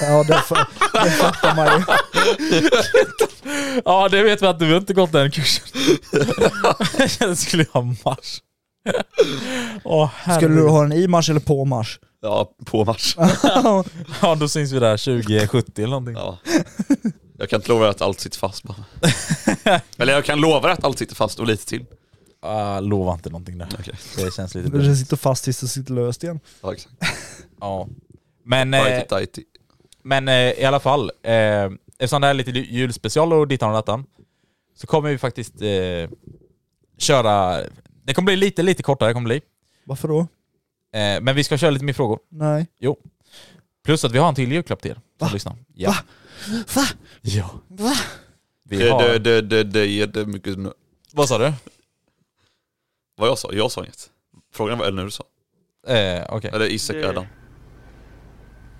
Speaker 5: Ja, det, fa- det fattar man ju.
Speaker 3: Ja, det vet vi att du har inte gått den kursen. det skulle jag ha mars. Åh
Speaker 5: Skulle
Speaker 3: herregud.
Speaker 5: du ha den i mars eller på mars?
Speaker 4: Ja, på mars.
Speaker 3: Ja, då syns vi där 2070 eller någonting.
Speaker 4: Ja. Jag kan inte lova att allt sitter fast bara. Eller jag kan lova att allt sitter fast och lite till.
Speaker 3: Ah, lova inte någonting där. Det känns lite
Speaker 5: Det
Speaker 3: dumt.
Speaker 5: sitter fast tills det sitter löst igen.
Speaker 4: Ja, exakt.
Speaker 3: Ja. Men, eh,
Speaker 4: Tighty, tighty.
Speaker 3: men eh, i alla fall, eh, eftersom det här är lite julspecial och dittan och dattan, så kommer vi faktiskt eh, köra... Det kommer bli lite, lite kortare, kommer det bli.
Speaker 5: Varför då?
Speaker 3: Eh, men vi ska köra lite mer frågor.
Speaker 5: Nej.
Speaker 3: Plus att vi har en till julklapp till er som lyssnar. Ja. Va? Ja. Vi har...
Speaker 4: Det, det, det, det, det, det är mycket nu.
Speaker 3: Vad sa du?
Speaker 4: Vad jag sa? Jag sa inget. Frågan var eller du sa.
Speaker 3: Eh, Okej.
Speaker 4: Eller Isak eller Adam.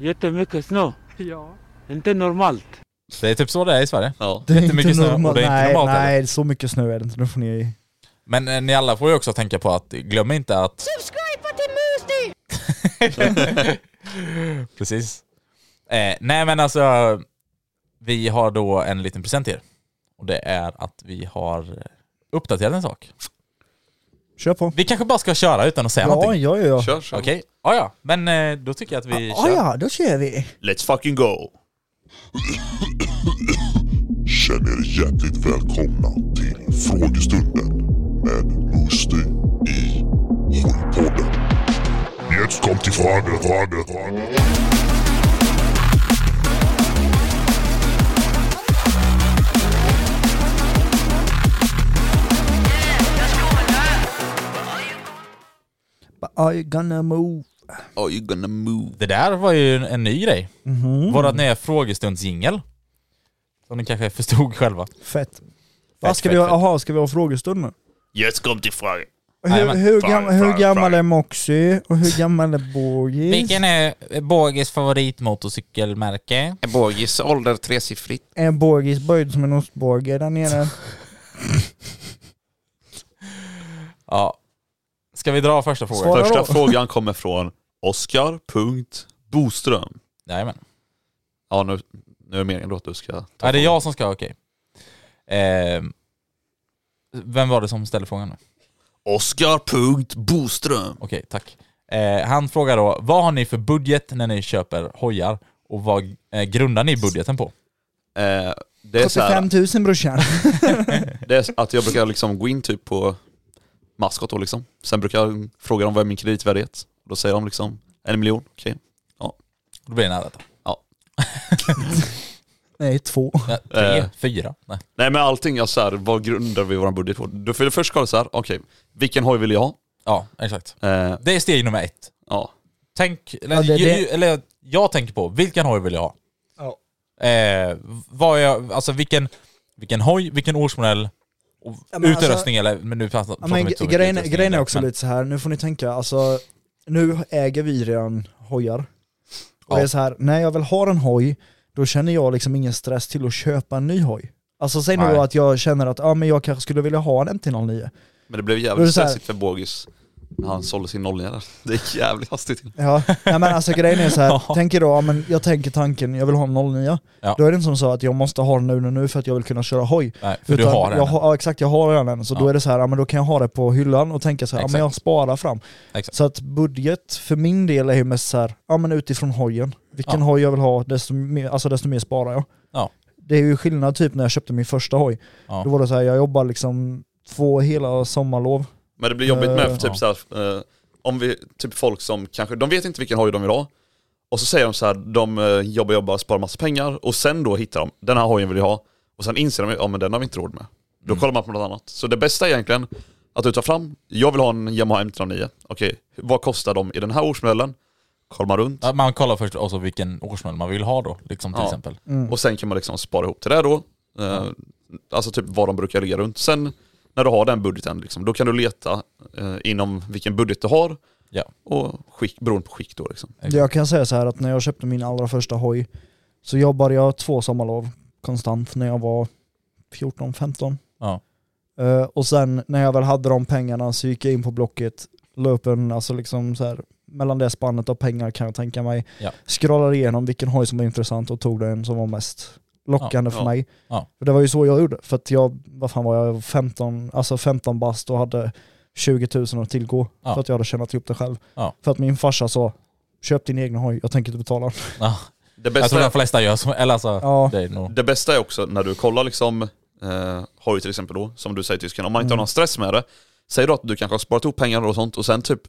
Speaker 6: Jättemycket snö. Ja. Inte normalt.
Speaker 3: Det är typ så det är i Sverige.
Speaker 4: Ja.
Speaker 5: Det är
Speaker 3: Jättemycket snö, och det är inte
Speaker 5: nej,
Speaker 3: normalt heller.
Speaker 5: Nej, så mycket snö är det inte. Nu får ni...
Speaker 3: Men eh, ni alla får ju också tänka på att glöm inte att... Subscriba till Musti! Precis. Eh, nej men alltså, vi har då en liten present till er. Och det är att vi har eh, uppdaterat en sak.
Speaker 5: Kör på.
Speaker 3: Vi kanske bara ska köra utan att säga
Speaker 5: Ja,
Speaker 3: någonting.
Speaker 5: ja, ja.
Speaker 4: Kör, kör.
Speaker 3: Okej, ah, ja men eh, då tycker jag att vi
Speaker 5: Ja,
Speaker 3: kör.
Speaker 5: ja, då kör vi.
Speaker 4: Let's fucking go!
Speaker 7: Känn er hjärtligt välkomna till frågestunden med Musti i Hållpodden. Jetzt kommt die Frage, Frage, Frage.
Speaker 5: But Are you gonna move?
Speaker 4: Are you Oh, gonna move?
Speaker 3: Det där var ju en, en ny grej. Vårat nya frågestundsjingel. Som ni kanske förstod själva.
Speaker 5: Fett. Vad ska
Speaker 3: fett,
Speaker 5: vi ha?
Speaker 3: fett.
Speaker 5: Aha, ska vi ha frågestund nu?
Speaker 7: Jetzt kommt die Frage.
Speaker 5: Hur,
Speaker 3: Jajamän.
Speaker 5: hur,
Speaker 7: Fan,
Speaker 5: gam,
Speaker 7: fan,
Speaker 5: hur gammal
Speaker 7: fan.
Speaker 5: är Moxie och hur gammal är Bogis?
Speaker 3: är Båges favoritmotorcykelmärke?
Speaker 4: Borgis ålder tresiffrigt.
Speaker 5: Är Bogis böjd som en ostbåge där nere?
Speaker 3: Ja. Ska vi dra första frågan?
Speaker 5: Svara.
Speaker 4: Första
Speaker 5: Vadå?
Speaker 4: frågan kommer från Oskar.Boström.
Speaker 3: Jajamän.
Speaker 4: Ja, nu, nu är det meningen då att du ska... ta
Speaker 3: Ja, det är
Speaker 4: frågan.
Speaker 3: jag som ska, okej. Ehm, vem var det som ställde frågan nu?
Speaker 4: Oskar.Boström.
Speaker 3: Okej, tack. Eh, han frågar då, vad har ni för budget när ni köper hojar? Och vad eh, grundar ni budgeten på?
Speaker 4: Eh, det är så
Speaker 5: 75
Speaker 4: här,
Speaker 5: 000 brorsan.
Speaker 4: det är att jag brukar liksom gå in typ på maskot då liksom. Sen brukar jag fråga dem vad är min kreditvärdighet. Då säger de liksom en miljon, okej.
Speaker 3: Då blir det nära.
Speaker 5: Nej, två.
Speaker 3: Ja, tre,
Speaker 4: Eh.
Speaker 3: fyra? Nej.
Speaker 4: Nej men allting, alltså så här, vad grundar vi vår budget på? Du får först kolla så här, okej, vilken hoj vill jag ha?
Speaker 3: Ja, exakt.
Speaker 4: Eh,
Speaker 3: Det är steg nummer ett.
Speaker 4: ja.
Speaker 3: Tänk, eller,
Speaker 5: Ja, det-
Speaker 3: ju-
Speaker 5: det-
Speaker 3: ju- eller jag tänker på, vilken hoj vill jag ha?
Speaker 5: Ja.
Speaker 3: Eh, vad är jag, alltså vilken, vilken hoj, vilken årsmodell och
Speaker 5: Ja, men
Speaker 3: utrustning
Speaker 5: alltså-
Speaker 3: eller, men nu pratar
Speaker 5: Ja,
Speaker 3: pratar
Speaker 5: men
Speaker 3: vi inte så mycket
Speaker 5: grejen,
Speaker 3: utrustning
Speaker 5: grejen är
Speaker 3: direkt,
Speaker 5: också
Speaker 3: men-
Speaker 5: lite så här. nu får ni tänka, alltså nu äger vi redan hojar. Och
Speaker 3: Ja.
Speaker 5: det är så här, när jag väl har en hoj, då känner jag liksom ingen stress till att köpa en ny hoj. Alltså säg nu
Speaker 3: Nej.
Speaker 5: då att jag känner att ja, men jag kanske skulle vilja ha en MT-09.
Speaker 4: Men det blev
Speaker 5: Då är det
Speaker 4: jävligt
Speaker 5: så här-
Speaker 4: stressigt för Borgis när han sålde sin 09 där. Det gick jävligt hastigt till.
Speaker 5: Ja, nej, men alltså grejen är så här, tänk er då, ja, men jag tänker tanken, jag vill ha en 09.
Speaker 3: Ja.
Speaker 5: Då är det inte som så att jag måste ha den nu nu, nu för att jag vill kunna köra hoj.
Speaker 3: Nej, för du
Speaker 5: Utan
Speaker 3: har den.
Speaker 5: jag har, Ja exakt, jag har redan en. Så då
Speaker 3: Ja.
Speaker 5: är det så här, ja, men då kan jag ha det på hyllan och tänka så här, ja, men
Speaker 3: Exakt.
Speaker 5: jag sparar fram.
Speaker 3: Exakt.
Speaker 5: Så att budget för min del är ju mest så här, ja men utifrån hojen. Vilken
Speaker 3: Ja.
Speaker 5: hoj jag vill ha, desto mer, alltså, desto mer sparar jag.
Speaker 3: Ja.
Speaker 5: Det är ju skillnad typ när jag köpte min första hoj.
Speaker 3: Ja.
Speaker 5: Då var det så här, jag jobbar liksom två hela sommarlov.
Speaker 4: Men det blir jobbigt med
Speaker 5: Eh,
Speaker 4: för typ
Speaker 3: ja.
Speaker 4: såhär, eh, om vi, typ folk som kanske, de vet inte vilken hoj de vill ha. Och så säger de så här, de eh, jobbar, jobbar, sparar massa pengar och sen då hittar de, den här hojen vill jag ha. Och sen inser de, ja men den har vi inte råd med. Då kollar man på något annat. Så det bästa är egentligen att du tar fram, jag vill ha en Yamaha M309. Okej, vad kostar de i den här årsmodellen? Kollar man runt.
Speaker 3: Ja, Man kollar först också vilken årsmodell man vill ha då, liksom till
Speaker 4: Ja.
Speaker 3: exempel.
Speaker 5: Mm.
Speaker 4: Och sen kan man liksom spara ihop till det då. Eh, alltså typ vad de brukar ligga runt. Sen när du har den budgeten, liksom, då kan du leta eh, inom vilken budget du har
Speaker 3: Ja.
Speaker 4: och skick, beroende på skick då. Liksom.
Speaker 3: Exakt.
Speaker 5: Jag kan säga så här att när jag köpte min allra första hoj så jobbade jag två sommarlov konstant när jag var 14-15.
Speaker 3: Ja.
Speaker 5: Eh, och sen när jag väl hade de pengarna så gick jag in på Blocket, la upp en, alltså liksom så här, mellan det spannet av pengar kan jag tänka mig,
Speaker 3: Ja.
Speaker 5: scrollade igenom vilken hoj som var intressant och tog den som var mest lockande
Speaker 4: Ja,
Speaker 5: för
Speaker 4: ja,
Speaker 5: mig.
Speaker 3: ja.
Speaker 5: För det var ju så jag gjorde, för att jag, vad fan var jag, 15, alltså 15 bast och hade 20 000 att tillgå
Speaker 3: Ja.
Speaker 5: för att jag hade tjänat ihop det själv.
Speaker 3: Ja.
Speaker 5: För att min farsa sa, köp din egen hoj, jag tänker inte betala.
Speaker 3: Ja.
Speaker 4: Det,
Speaker 3: Jag tror
Speaker 4: bästa,
Speaker 3: de flesta gör så, eller alltså,
Speaker 5: Ja.
Speaker 3: det är nog...
Speaker 4: det bästa är också när du kollar liksom, eh, hoj till exempel då, som du säger i Tyskland, om man inte har någon stress med det, säg då att du kanske har sparat ihop pengar och sånt och sen typ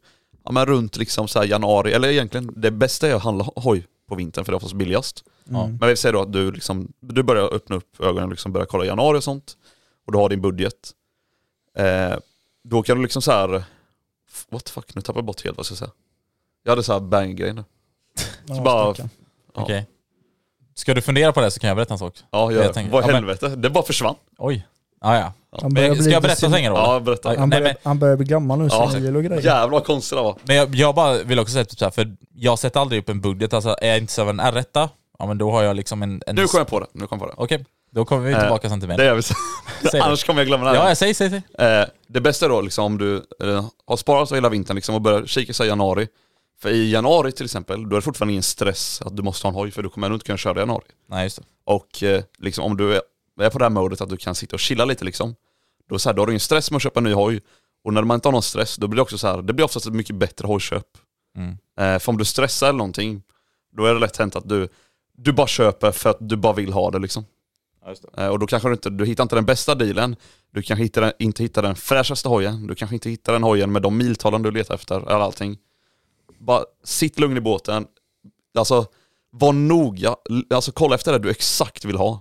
Speaker 4: ja, men runt liksom så här januari, eller egentligen det bästa är att handla hoj på vintern för det är oftast billigast.
Speaker 3: Ja.
Speaker 5: Mm.
Speaker 4: Men vi säger då att du, liksom, du börjar öppna upp ögonen och liksom börjar kolla i januari och sånt. Och du har din budget. Eh, då kan du liksom så här... f- What the fuck, nu tappar jag bort helt vad jag ska säga. Jag hade så här bang-grej nu.
Speaker 5: Ja,
Speaker 4: bara-
Speaker 5: stackarn.
Speaker 4: Ja.
Speaker 3: Okej. Ska du fundera på det så kan jag berätta en sak.
Speaker 4: Ja, jag,
Speaker 3: Jag tänker-
Speaker 4: vad
Speaker 3: ja, men-
Speaker 4: helvete. Det bara försvann.
Speaker 3: Oj. Ah, Ja, ja.
Speaker 5: Han
Speaker 3: Men
Speaker 5: börjar
Speaker 3: jag,
Speaker 5: bli
Speaker 3: ska jag
Speaker 5: lite
Speaker 3: berätta
Speaker 5: sin-
Speaker 3: så länge då?
Speaker 4: Ja, berätta.
Speaker 3: Nej,
Speaker 5: Han
Speaker 3: nej,
Speaker 5: börjar,
Speaker 3: men,
Speaker 5: han börjar bli gammal nu,
Speaker 4: Ja.
Speaker 5: senil och grejer.
Speaker 4: Jävlar vad konstigt det var.
Speaker 3: men jag, jag bara vill också säga typ så här, för jag sätter aldrig upp en budget. Alltså är jag inte så en r ja men då har jag liksom en... en
Speaker 4: Nu kom jag på det. Nu kom jag på det.
Speaker 3: Okej, då kommer vi tillbaka
Speaker 4: Eh,
Speaker 3: sen till mig.
Speaker 4: Det gör vi sen.
Speaker 3: Säg det.
Speaker 4: Annars kommer jag glömma det här.
Speaker 3: Ja, jag säger, säger, säger.
Speaker 4: Eh, det bästa är då liksom om du eh, har sparat hela vintern liksom, och börjar kika sig i januari. För i januari till exempel, då är det fortfarande ingen stress att du måste ha en hoj för du kommer ändå inte kunna köra i januari.
Speaker 3: Nej, just det.
Speaker 4: Och eh, liksom, om du är- är på det här modet att du kan sitta och chilla lite liksom, då, så här, då har du ingen stress med att köpa en ny hoj. Och när man inte har någon stress, då blir det också så här, det blir oftast ett mycket bättre hojköp.
Speaker 3: Mm.
Speaker 4: Eh, för om du stressar eller någonting, då är det lätt hänt att du, du bara köper för att du bara vill ha det liksom. Eh, och då kanske du inte, du hittar inte den bästa dealen, du kanske hittar den, inte hittar den fräschaste hojen, du kanske inte hittar den hojen med de miltalen du letar efter eller allting. Bara sitt lugn i båten, alltså var noga, L- alltså kolla efter det du exakt vill ha.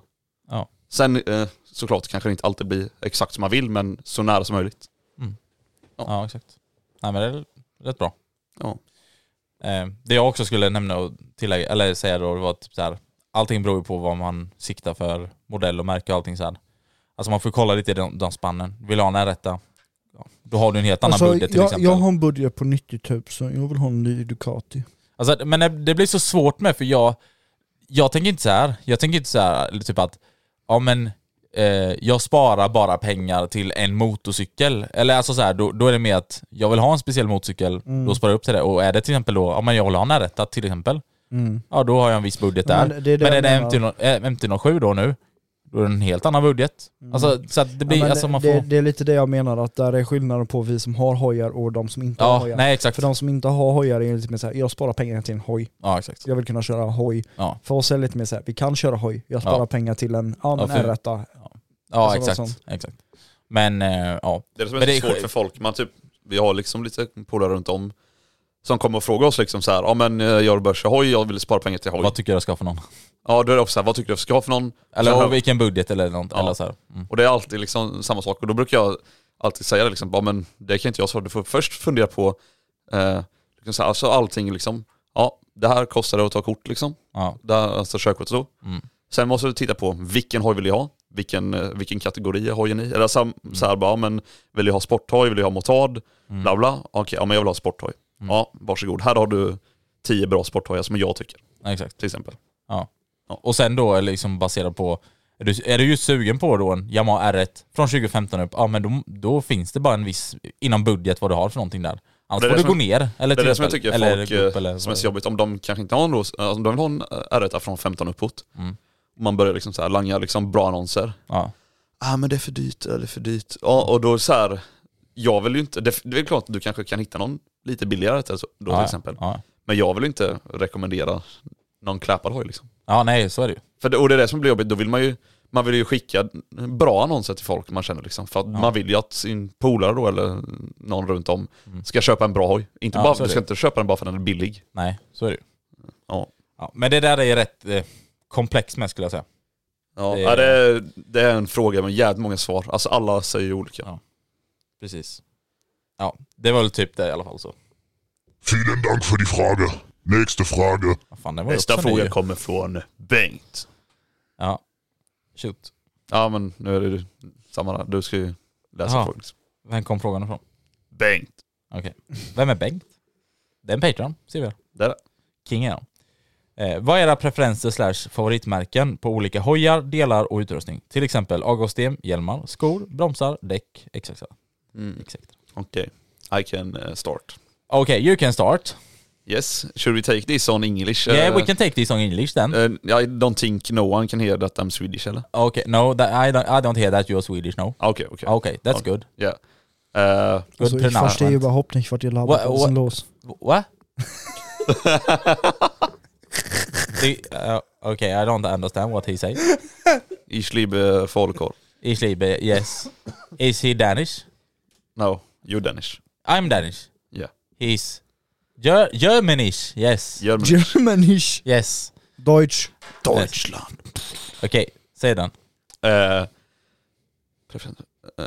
Speaker 3: Ja.
Speaker 4: Sen eh, såklart kanske det inte alltid blir exakt som man vill, men så nära som möjligt.
Speaker 3: Ja, exakt. Nej men det är rätt bra.
Speaker 4: Ja.
Speaker 3: Eh, det jag också skulle nämna och tillägga, eller säga då, det var typ så här. Allting beror ju på vad man siktar för modell och märke och allting så här. Alltså man får kolla lite i de, de spannen. Vill du ha en rätta? Ja. Då har du en helt annan
Speaker 5: Alltså,
Speaker 3: budget till
Speaker 5: jag,
Speaker 3: exempel.
Speaker 5: jag har en budget på 90 000, jag vill ha en ny Ducati.
Speaker 3: Alltså, men det, det blir så svårt med för jag, jag tänker inte så här. Jag tänker inte så här eller typ att, ja men eh, jag sparar bara pengar till en motorcykel. Eller alltså så här, då, då är det mer att jag vill ha en speciell motorcykel,
Speaker 5: Mm.
Speaker 3: då sparar jag upp till det. Och är det till exempel då, ja men jag vill ha en R1 till exempel. Ja då har jag en viss budget
Speaker 5: Mm.
Speaker 3: där.
Speaker 5: Ja, men
Speaker 3: Men,
Speaker 5: det är det jag
Speaker 3: är det
Speaker 5: menar.
Speaker 3: MT, eh, MT07 då nu, då är det en helt annan budget. Alltså så att det blir,
Speaker 5: Mm. Ja, men
Speaker 3: alltså
Speaker 5: det,
Speaker 3: man får...
Speaker 5: det, det är lite det jag menar, att där är skillnaden på vi som har hojar och de som inte har
Speaker 3: ja,
Speaker 5: hojar.
Speaker 3: nej exakt.
Speaker 5: För de som inte har hojar är lite mer såhär, jag sparar pengar till en hoj,
Speaker 3: Ja exakt.
Speaker 5: jag vill kunna köra hoj.
Speaker 3: Ja,
Speaker 5: För oss är det lite mer såhär, vi kan köra hoj, jag sparar
Speaker 3: Ja.
Speaker 5: pengar till en ja, men
Speaker 3: Ja, för-
Speaker 5: R1.
Speaker 3: ja
Speaker 5: Alltså, något
Speaker 3: exakt.
Speaker 5: sånt.
Speaker 3: exakt. Men eh, ja.
Speaker 4: Det är det som är,
Speaker 3: Men det är
Speaker 4: så svårt
Speaker 3: sj-
Speaker 4: för folk, man typ, vi har liksom lite polare runt om som kommer och frågar oss liksom så här, ja men eh, jag vill börja köra hoj, jag vill spara pengar till hoj.
Speaker 3: Vad tycker du jag ska ha för någon?
Speaker 4: Ja då är det också så här, vad tycker du jag ska ha för någon? Sen
Speaker 3: Eller
Speaker 4: har-
Speaker 3: och vilken budget eller något.
Speaker 4: Ja.
Speaker 3: Eller så här. Mm.
Speaker 4: Och det är alltid liksom samma sak. Och då brukar jag alltid säga det liksom, ja men det kan inte jag svara Du får först fundera på eh, liksom så här, alltså allting liksom, ja det här kostar det att ta kort liksom.
Speaker 3: Ja.
Speaker 4: Det här, alltså körkort och så.
Speaker 3: Mm.
Speaker 4: Sen måste du titta på vilken hoj vill jag ha? vilken, eh, vilken kategori är hojen i? Eller sam,
Speaker 3: Mm.
Speaker 4: så här bara, ja, men vill jag ha sporthoj, vill jag ha motard, bla bla. Okej, ja men jag vill ha sporthoj.
Speaker 3: Mm.
Speaker 4: Ja, varsågod. Här har du tio bra sporthojar som jag tycker,
Speaker 3: Ja, exakt.
Speaker 4: till exempel.
Speaker 3: Ja. Och sen då är liksom baserat på, är du, är du just sugen på då en Yamaha R1 från 2015 upp, ja men då, då finns det bara en viss, inom budget vad du har för någonting där.
Speaker 4: Det
Speaker 3: Annars
Speaker 4: är
Speaker 3: får
Speaker 4: det
Speaker 3: du gå
Speaker 4: som-
Speaker 3: ner, eller
Speaker 4: Det är
Speaker 3: till
Speaker 4: det som jag
Speaker 3: exempel,
Speaker 4: tycker
Speaker 3: eller
Speaker 4: folk
Speaker 3: gå upp,
Speaker 4: eh,
Speaker 3: eller
Speaker 4: som är
Speaker 3: vad
Speaker 4: så jobbigt, om de kanske inte har en ros, alltså, om de vill ha en r från 15 uppåt,
Speaker 3: Mm.
Speaker 4: man börjar liksom så här langa liksom bra annonser.
Speaker 3: Ja.
Speaker 4: ah, men det är för dyrt, ja, det är för dyrt. Ja, och då så här, jag vill ju inte, det, det är klart att du kanske kan hitta någon lite billigare till, då
Speaker 3: Ja,
Speaker 4: till
Speaker 3: ja.
Speaker 4: exempel.
Speaker 3: Ja.
Speaker 4: Men jag vill ju inte rekommendera någon klappad hoj liksom.
Speaker 3: ja, nej så är det ju.
Speaker 4: För det, och det är det som blir jobbigt, då vill man ju, man vill ju skicka bra annonser till folk man känner liksom. För att man vill ju att sin polare då eller någon runt om ska köpa en bra hoj. Inte
Speaker 3: Mm. Ja,
Speaker 4: bara,
Speaker 3: så är
Speaker 4: du
Speaker 3: det.
Speaker 4: ska inte köpa den bara för att den är billig.
Speaker 3: Nej, så är det ju.
Speaker 4: Ja.
Speaker 3: Ja, men det där är rätt eh, komplext med skulle jag säga.
Speaker 4: Ja,
Speaker 3: Det-
Speaker 4: ja, det, är, det är en fråga med jävligt många svar. Alltså alla säger ju olika.
Speaker 3: Ja. Precis. Ja, det var väl typ det i alla fall så.
Speaker 7: Vielen Dank für die Frage. Nächste Frage.
Speaker 3: Vad fan, det var ju
Speaker 4: Nästa
Speaker 3: också ny.
Speaker 4: fråga kommer från Bengt.
Speaker 3: Ja. Shoot.
Speaker 4: Ja men nu är det ju samma där. Du ska ju läsa
Speaker 3: Ja.
Speaker 4: frågan. liksom.
Speaker 3: Vem kom frågan ifrån?
Speaker 4: Bengt.
Speaker 3: Okej. Vem är Bengt? Det är en Patreon, ser vi.
Speaker 4: Där.
Speaker 3: King är han. Eh, vad är era preferenser slash favoritmärken på olika hojar, delar och utrustning? Till exempel avgassystem, hjälmar, skor, bromsar, däck, etc. etc.
Speaker 4: Okej. I can uh, start.
Speaker 3: Okay, you can start.
Speaker 4: Yes, should we take this on English?
Speaker 3: Yeah,
Speaker 4: Uh,
Speaker 3: we can take this on English then.
Speaker 4: uh, I don't think no one can hear that I'm Swedish eller?
Speaker 3: okay, no, that, I, don't, I don't hear that you're Swedish, no.
Speaker 4: Okej, Ah, okej.
Speaker 3: Okay, Ah, that's
Speaker 4: Okay.
Speaker 3: good.
Speaker 4: Ja. Yeah. Uh,
Speaker 3: Good
Speaker 5: Also ich verstehe
Speaker 3: pronouncement.
Speaker 5: überhaupt nicht, was ihr labert.
Speaker 3: Wha-
Speaker 5: Was ist
Speaker 3: wha-
Speaker 5: denn los?
Speaker 3: What? The, uh, okay, I don't understand what he says.
Speaker 4: ich liebe folkor.
Speaker 3: Is he, ba- yes. Is he Danish?
Speaker 4: No, you're Danish.
Speaker 3: I'm Danish.
Speaker 4: Yeah.
Speaker 3: He's Ger- Germanish. Yes.
Speaker 4: German.
Speaker 5: Germanisch.
Speaker 3: Yes.
Speaker 5: Deutsch.
Speaker 4: Deutschland.
Speaker 3: Okej, säg den.
Speaker 4: Uh, preference. Uh,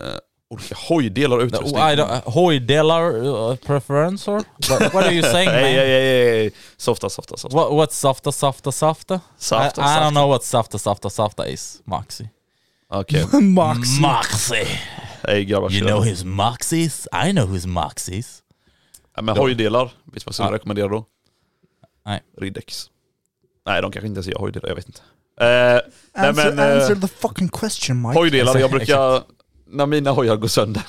Speaker 4: olika hojdelar och
Speaker 3: The-
Speaker 4: utrustning.
Speaker 3: oh, I don't- Hojdelar uh, preference or? What, what are you saying
Speaker 4: Hey, hey,
Speaker 3: man?
Speaker 4: hey, hey. Softa, softa, softa.
Speaker 3: What, what's safta safta safta?
Speaker 4: Safta,
Speaker 3: I, I
Speaker 4: safta.
Speaker 3: don't know what safta safta safta is. Maxi.
Speaker 4: Okej.
Speaker 5: Max.
Speaker 3: Maxi!
Speaker 4: Hej grabbar,
Speaker 3: You
Speaker 4: kör.
Speaker 3: know who's Maxis? I know who's Maxis.
Speaker 4: Ja, men hojdelar, vet du vad jag skulle
Speaker 3: Ja.
Speaker 4: rekommendera då?
Speaker 3: Nej.
Speaker 4: Riddex. Nej, de kanske inte ens gör hojdelar, jag vet inte. Eh, nej,
Speaker 5: Answer,
Speaker 4: men, eh,
Speaker 5: answer the fucking question Mike.
Speaker 4: hojdelar, jag brukar... När mina hojar går sönder.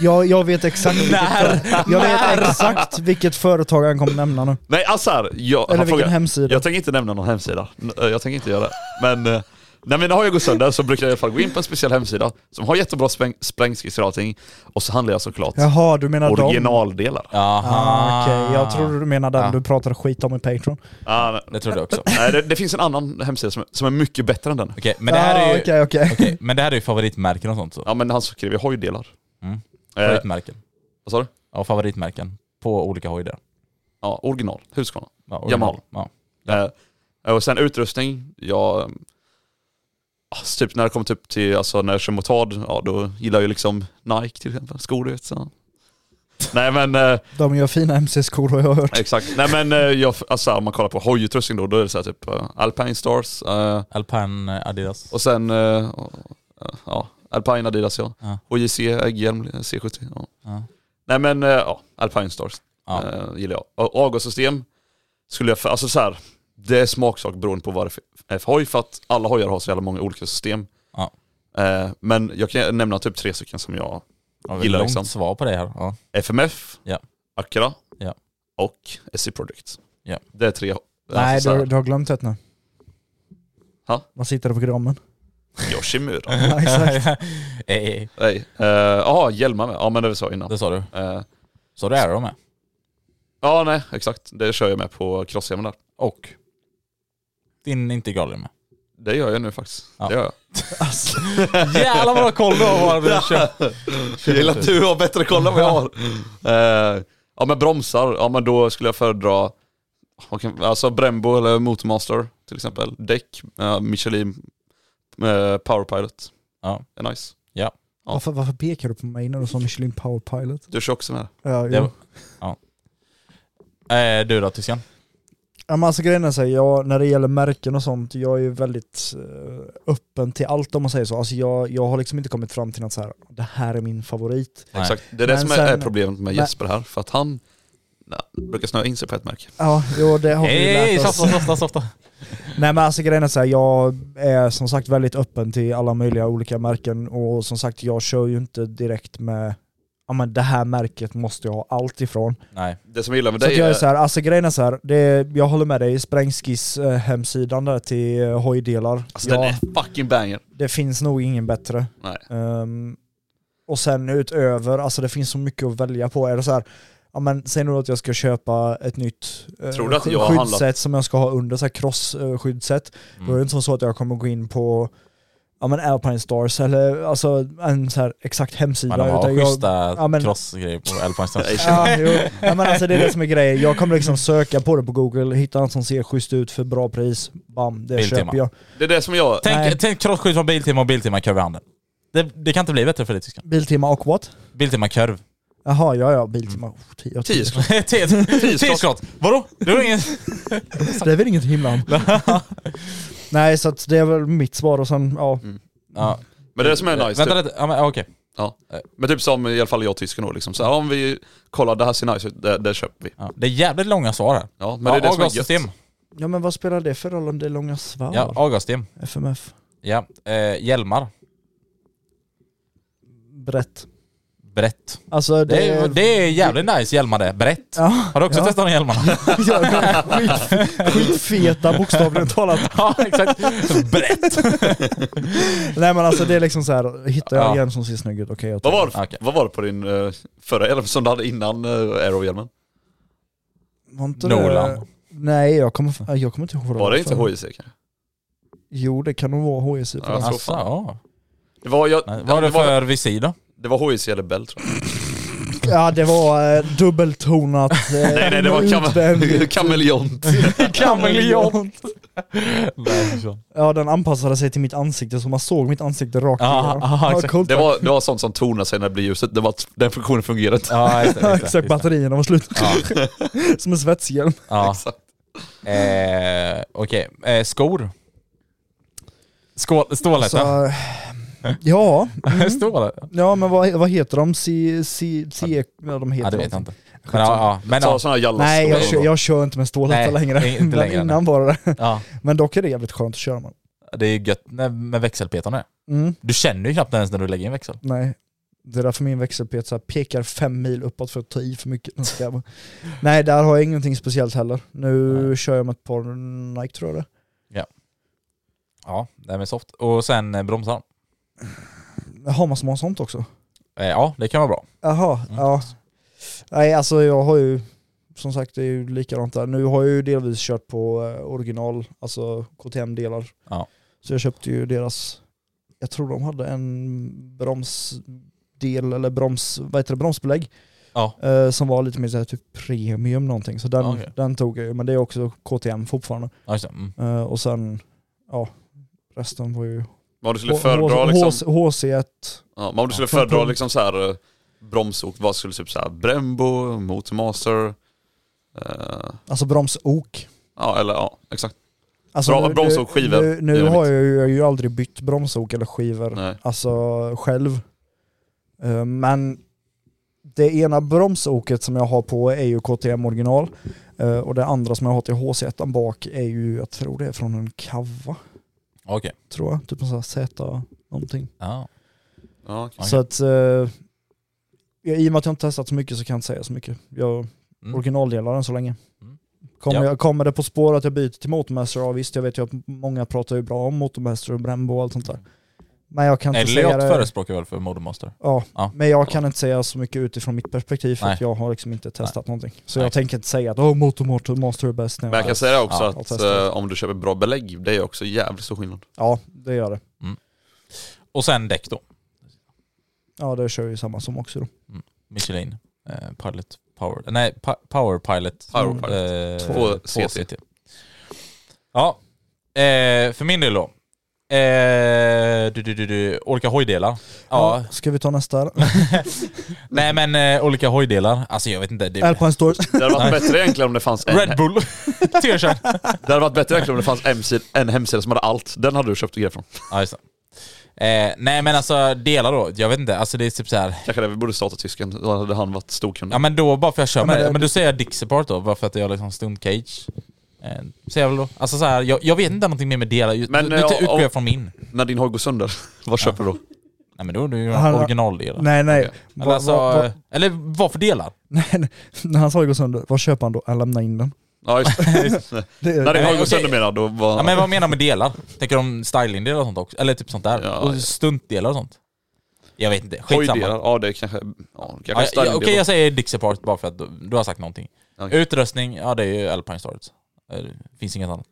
Speaker 5: Jag, jag vet exakt
Speaker 3: När?
Speaker 5: vilket, jag vet exakt vilket företag han kommer nämna nu.
Speaker 4: Nej, alltså här, jag,
Speaker 5: Eller
Speaker 4: han
Speaker 5: vilken
Speaker 4: frågar-
Speaker 5: hemsida.
Speaker 4: Jag tänker inte nämna någon hemsida. N- eh, Jag tänker inte göra det. Men eh, när mina hojar går sönder så brukar jag i alla fall gå in på en speciell hemsida som har jättebra spräng, sprängskisser och allting. Och så handlar jag såklart
Speaker 5: Jaha, du menar dem?
Speaker 4: originaldelar.
Speaker 3: Aha.
Speaker 5: Ah, Okej, jag trodde du menade den
Speaker 3: Ah.
Speaker 5: du pratade skit om i Patreon.
Speaker 4: Ah, nej.
Speaker 3: Det trodde jag också.
Speaker 4: nej, det, det finns en annan hemsida som, som är mycket bättre än den.
Speaker 3: Okej, men det här är ju...
Speaker 5: Okej, okej.
Speaker 3: okej, men det här är ju favoritmärken och sånt så.
Speaker 4: Ja men han skriver ju hojdelar.
Speaker 3: Mm.
Speaker 4: Eh,
Speaker 3: Favoritmärken.
Speaker 4: Vad sa du?
Speaker 3: Ja, favoritmärken. På olika hojder.
Speaker 4: Ja, original. Husqvarna.
Speaker 3: Ja, och-
Speaker 4: Jamal.
Speaker 3: Ja.
Speaker 4: Eh, och sen utrustning, jag... eh, Alltså, typ när det kommer typ till, alltså när jag kör motard, ja då gillar jag ju liksom Nike till exempel, skor du vet så. Nej men, eh,
Speaker 5: De gör fina MC-skor har jag hört.
Speaker 4: exakt. Nej men eh, jag, alltså om man kollar på hojutrustning då, då är det så här typ eh, Alpine Stars, eh,
Speaker 3: Alpine eh, Adidas.
Speaker 4: och sen, eh, och, eh, ja, Alpine Adidas ja.
Speaker 3: Ja.
Speaker 4: HJC, Egghjelm, C70. Ja.
Speaker 3: Ja.
Speaker 4: Nej men, eh, ja, Alpine Stars.
Speaker 3: Ja.
Speaker 4: Eh, gillar jag. Och avgassystem skulle jag, för- alltså så här, det är smaksak beroende på vad det är för hoj för att alla hojar har så jävla många olika system.
Speaker 3: Ja.
Speaker 4: Eh, men jag kan nämna typ tre stycken som jag,
Speaker 3: Ja, vi har
Speaker 4: gillar
Speaker 3: långt
Speaker 4: liksom.
Speaker 3: svar på det här. Ja.
Speaker 4: FMF,
Speaker 3: Ja.
Speaker 4: Acura
Speaker 3: Ja.
Speaker 4: och SC Project.
Speaker 3: Ja.
Speaker 4: Det är tre.
Speaker 5: Nej,
Speaker 4: alltså så
Speaker 5: du,
Speaker 4: här,
Speaker 5: du har glömt ett nu.
Speaker 4: Ha?
Speaker 5: Vad sitter det på grammen?
Speaker 4: Yoshimura.
Speaker 5: Ja, exakt.
Speaker 3: Eh, eh,
Speaker 4: Nej, eh, jaha, hjälmar med. Ja men det sa jag innan.
Speaker 3: det sa du.
Speaker 4: Eh,
Speaker 3: Så det är de med.
Speaker 4: ja nej, exakt. Det kör jag med på crosshjälmen där.
Speaker 3: Och din integral är med.
Speaker 4: Det gör jag nu faktiskt.
Speaker 3: Ja.
Speaker 4: Det gör jag.
Speaker 5: Alltså.
Speaker 3: Jävlar vad koll du har vad du kör.
Speaker 4: Jag gillar att du har bättre koll än vad jag har. Eh, ja men bromsar, ja men då skulle jag föredra vad kan- alltså Brembo eller Motormaster till exempel. Däck, eh, Michelin, eh, Power Pilot.
Speaker 3: Ja.
Speaker 4: Är nice.
Speaker 5: varför, varför pekar du på mig när du sa Michelin Power Pilot?
Speaker 4: Du kör också med.
Speaker 5: Ja,
Speaker 3: Det
Speaker 5: jo.
Speaker 3: var- ja. Eh, du då tyskan?
Speaker 5: Ja, men alltså grejen är så här, jag, när det gäller märken och sånt, jag är ju väldigt eh, öppen till allt om man säger så. Alltså jag, jag har liksom inte kommit fram till något så här, det här är min favorit.
Speaker 3: Nej.
Speaker 4: Exakt. Det är det
Speaker 5: Men
Speaker 4: som är, är
Speaker 5: sen-
Speaker 4: problemet med
Speaker 5: men-
Speaker 4: Jesper här, för att han nej, brukar snöa in sig på ett märke.
Speaker 5: Ja, jo, det har vi ju
Speaker 3: Hej,
Speaker 5: lärt oss.
Speaker 3: softa, softa, softa.
Speaker 5: Nej men alltså grejen är så här, jag är som sagt väldigt öppen till alla möjliga olika märken och som sagt jag kör ju inte direkt med Ja men det här märket måste jag ha allt ifrån.
Speaker 3: Nej.
Speaker 4: Det som jag gillar med
Speaker 5: Så att
Speaker 4: dig
Speaker 5: jag
Speaker 4: är,
Speaker 5: är så här, alltså grejen är så här, det är, jag håller med dig, sprängskiss eh, hemsidan där till eh, hojdelar.
Speaker 4: alltså den
Speaker 5: Ja,
Speaker 4: är fucking banger.
Speaker 5: det finns nog ingen bättre.
Speaker 4: Nej.
Speaker 5: Ehm, och sen utöver, alltså det finns så mycket att välja på. Är det så här, ja men säg nu att jag ska köpa ett nytt eh,
Speaker 4: Tror du att
Speaker 5: sky-
Speaker 4: jag har handlat- Mm.
Speaker 5: skyddssätt som jag ska ha under, så här cross-skyddssätt. Då är det inte som så att jag kommer gå in på ja men Alpine Stars eller alltså en så här exakt hemsida.
Speaker 3: Men de har
Speaker 5: utan jag-
Speaker 3: schyssta
Speaker 5: ja, men-
Speaker 3: crossgrejer på Alpine Stars.
Speaker 5: Ja, jo. Ja, men alltså det är det som är grejen. Jag kommer liksom söka på det på google, hitta något som ser schysst ut för bra pris. Bam, det
Speaker 3: Biltema.
Speaker 5: köper jag.
Speaker 4: Det är det som jag...
Speaker 5: Nej.
Speaker 3: Tänk, tänk crossskydd från Biltema och Biltema Curve i handen. Det, det kan inte bli bättre för dig tyskan.
Speaker 5: Biltema och what?
Speaker 3: Biltema Curve.
Speaker 5: Jaha, ja ja, Biltema. Oh, tio av tio.
Speaker 4: Mm. Tio skott.
Speaker 3: T-skott. Vadå? Det var inget...
Speaker 5: Det är väl inget att himla om. Nej, så att det är väl mitt svar och sen, ja.
Speaker 4: Mm.
Speaker 3: Ja.
Speaker 4: Men det är det som är nice.
Speaker 3: Vänta
Speaker 4: Typ.
Speaker 3: lite. Ja, men, ja, okej.
Speaker 4: Ja. Men typ som i alla fall jag och tysken då liksom. Så här, om vi kollar, det här ser nice ut, det, det köper vi.
Speaker 3: Ja. Det är jävligt långa svar här.
Speaker 4: Ja, men det är det som är
Speaker 3: avgassystem.
Speaker 4: gött.
Speaker 5: Ja men vad spelar det för roll om det är långa svar?
Speaker 3: Ja, avgassystem.
Speaker 5: FMF.
Speaker 3: Ja. Eh, hjälmar.
Speaker 5: Brett.
Speaker 3: Brett.
Speaker 5: Alltså det,
Speaker 3: Det är, det är jävligt nice hjälmar det. Brett.
Speaker 5: Ja,
Speaker 3: Har du också
Speaker 5: ja.
Speaker 3: testat de hjälmarna?
Speaker 5: Ja, de är skit, skitfeta bokstavligen talat.
Speaker 3: ja, exakt. Brett.
Speaker 5: Alltså. Nej men alltså det är liksom så här, hittar jag
Speaker 3: Ja.
Speaker 5: en hjälm som ser snygg ut, okej jag tar
Speaker 4: Vad var, det-
Speaker 3: Okej.
Speaker 4: vad var det på din eh, förra, eller som du hade innan uh, Aero-hjälmen?
Speaker 5: Var inte
Speaker 3: Nolan.
Speaker 5: Nej jag kommer, jag kommer inte ihåg vad
Speaker 4: Var det inte
Speaker 5: för-
Speaker 4: HJC kanske?
Speaker 5: Jo det kan nog vara typ. HJC. på
Speaker 4: Ja.
Speaker 5: den.
Speaker 3: Alltså, ja.
Speaker 4: Det var, jag,
Speaker 3: Nej, Vad har du
Speaker 4: det, var,
Speaker 3: för visir då?
Speaker 4: det var HJC eller Bell tror jag.
Speaker 5: Ja det var eh, dubbeltonat. Eh,
Speaker 4: Nej nej, det var kam-
Speaker 5: utvändigt.
Speaker 4: kameleont.
Speaker 3: Kameleont.
Speaker 5: Ja den anpassade sig till mitt ansikte så man såg mitt ansikte rakt
Speaker 3: Ja,
Speaker 5: igenom.
Speaker 3: aha,
Speaker 5: Ja,
Speaker 3: exakt.
Speaker 5: coolt,
Speaker 4: Det var, det var sånt som tonar sig när det blir ljuset, det var, att den funktionen fungerade inte.
Speaker 3: Ja, just det,
Speaker 5: Ja,
Speaker 3: just det,
Speaker 5: exakt,
Speaker 3: just det.
Speaker 5: batterierna var slut.
Speaker 3: Ja.
Speaker 5: Som en svetshjälm.
Speaker 3: Ja.
Speaker 4: Exakt.
Speaker 3: Eh, Okej, eh, skor. Skål, stålet
Speaker 5: Så, eh,
Speaker 3: då?
Speaker 5: ja,
Speaker 3: Stålet?
Speaker 5: ja men vad, vad heter de? C, C, C, ja, de heter
Speaker 3: Ja, det vet jag inte. Men, ja,
Speaker 5: Skitsamma.
Speaker 3: ja, men,
Speaker 4: Ta
Speaker 3: ja,
Speaker 4: sådana här jallas.
Speaker 5: Nej jag kör, jag kör inte med stålhätta
Speaker 3: Nej,
Speaker 5: längre.
Speaker 3: inte längre, nej.
Speaker 5: men innan var det
Speaker 3: ja,
Speaker 5: Men dock är det jävligt skönt att köra med.
Speaker 3: det är ju gött när- med växelpetarna.
Speaker 5: Mm,
Speaker 3: Du känner ju knappt ens när du lägger in växel.
Speaker 5: nej. Det är därför min växelpet så här pekar fem mil uppåt för att ta i för mycket. Nu ska jag bara- Nej, där har jag ingenting speciellt heller. Nu
Speaker 3: Nej.
Speaker 5: kör jag med ett par Nike tror jag det
Speaker 3: Ja, det är med soft. Och sen eh, bromsar.
Speaker 5: är. Har man som har sånt också?
Speaker 3: Eh, ja, det kan vara bra.
Speaker 5: Jaha,
Speaker 3: Mm.
Speaker 5: ja. Nej alltså jag har ju, som sagt det är ju likadant där. Nu har jag ju delvis kört på eh, original, alltså KTM-delar.
Speaker 3: Ja.
Speaker 5: Så jag köpte ju deras, jag tror de hade en bromsdel eller broms, vad heter det, bromsbelägg.
Speaker 3: Ja.
Speaker 5: Eh, som var lite mer såhär typ premium någonting. Så den,
Speaker 3: Ja, okej.
Speaker 5: den tog jag ju, men det är också KTM fortfarande.
Speaker 3: Ja, just det. Mm.
Speaker 5: Eh, och sen, ja, resten var ju
Speaker 4: Vad du skulle föredra
Speaker 5: H-
Speaker 4: liksom.
Speaker 5: HC1.
Speaker 4: Ja, men om du skulle
Speaker 5: Ja, från-
Speaker 4: föredra
Speaker 5: från-
Speaker 4: liksom så här eh, bromsok, vad skulle typ så här Brembo, Motormaster, eh,
Speaker 5: Alltså bromsok.
Speaker 4: ja eller ja, exakt.
Speaker 5: Alltså,
Speaker 4: Bra- broms och skivor,
Speaker 5: Nu, nu
Speaker 4: dynamit.
Speaker 5: har jag, ju, jag har ju aldrig bytt bromsok eller skivor,
Speaker 4: Nej.
Speaker 5: alltså själv. Eh, men det ena bromsoket som jag har på är ju KTM original Eh, och det andra som jag har till HC1 bak är ju, jag tror det är från en Cava,
Speaker 3: Okej.
Speaker 5: tror jag. Typ en sån här Z någonting.
Speaker 3: Ja.
Speaker 4: Ja, okej.
Speaker 3: Okej.
Speaker 5: Så att, eh, ja, i och med att jag inte testat så mycket så kan jag inte säga så mycket. Jag
Speaker 3: Mm.
Speaker 5: originaldelar den så länge.
Speaker 3: Mm.
Speaker 5: Kommer,
Speaker 3: Ja.
Speaker 5: jag, kommer det på spår att jag byter till Motormaster? Ja visst, jag vet ju att många pratar ju bra om Motormaster och Brembo och allt sånt där. Men jag kan inte säga
Speaker 3: Elliot
Speaker 5: det.
Speaker 3: förespråkar väl för Modemaster?
Speaker 5: Ja,
Speaker 3: Ja.
Speaker 5: men jag kan inte säga så mycket utifrån mitt perspektiv för
Speaker 3: Nej.
Speaker 5: att jag har liksom inte testat någonting. Så
Speaker 3: Nej.
Speaker 5: jag tänker inte säga att oh, Motormaster är bäst.
Speaker 4: Men jag kan säga också
Speaker 3: Ja,
Speaker 4: att
Speaker 5: jag testar.
Speaker 4: eh, om du köper bra belägg, det är också jävligt stor skillnad.
Speaker 5: Ja, det gör det.
Speaker 3: Och sen däck då.
Speaker 5: Ja, det kör ju samma som också då.
Speaker 3: Michelin. Eh, pilot Power. Nej, pa- Power Pilot.
Speaker 4: Power
Speaker 3: Mm. Eh,
Speaker 4: Två
Speaker 3: två
Speaker 4: CT.
Speaker 3: Ja. Eh, för min del då. Eh, du, du, du, du, olika hojdelar. Ja.
Speaker 5: Ska vi ta nästa?
Speaker 3: Nej men eh, olika hojdelar. Alltså jag vet inte. Det,
Speaker 5: Alpine Stores.
Speaker 4: Det hade varit bättre egentligen om det fanns en,
Speaker 3: Red Bull. T-shirt.
Speaker 4: det hade varit bättre egentligen om det fanns hemsida, en hemsida som hade allt. Den hade du köpt grejer från.
Speaker 3: ja, just det. eh, nej men alltså delar då. Jag vet inte. Alltså det är typ så här.
Speaker 4: Kanske det vi borde starta tysken. Då hade han varit storkund.
Speaker 3: Ja men då bara för jag kör
Speaker 5: Ja,
Speaker 3: med
Speaker 5: men
Speaker 3: men,
Speaker 5: det-
Speaker 3: det. Men då säger jag Dixapart då, bara för att jag har liksom stump cage. Eh, säger jag väl då. Alltså så här, jag, jag vet inte någonting mer med delar. Just-
Speaker 4: Men,
Speaker 3: nu nu
Speaker 4: eh,
Speaker 3: utgår
Speaker 4: om-
Speaker 3: jag från min.
Speaker 4: När din hoj går sönder, vad köper du då?
Speaker 3: Nej men då är det ju
Speaker 5: Han-
Speaker 3: originaldelar.
Speaker 5: nej, nej.
Speaker 4: Okej.
Speaker 5: Va-
Speaker 3: Eller, alltså,
Speaker 5: va- va-
Speaker 3: eller vad för delar?
Speaker 5: nej, nej. När hans hoj går sönder, vad köper han då? Han lämnar in den.
Speaker 4: Ja, just det.
Speaker 5: Det är,
Speaker 4: När din hoj går
Speaker 3: okej.
Speaker 4: sönder menar jag, då var...
Speaker 3: Ja, men vad menar du med delar? Tänker du om stylingdelar och sånt också? Eller typ sånt där?
Speaker 4: Ja, ja.
Speaker 3: och stuntdelar och sånt? Jag vet inte, skitsamma.
Speaker 4: Hojdelar, ja det är kanske... Ja,
Speaker 3: Ja,
Speaker 4: kanske
Speaker 3: ja,
Speaker 4: ja,
Speaker 3: Okej jag säger Dixapart bara för att du, du har sagt någonting.
Speaker 4: Okej.
Speaker 3: Utrustning, ja det är ju Alpine Starts. Eh, Det finns inget annat.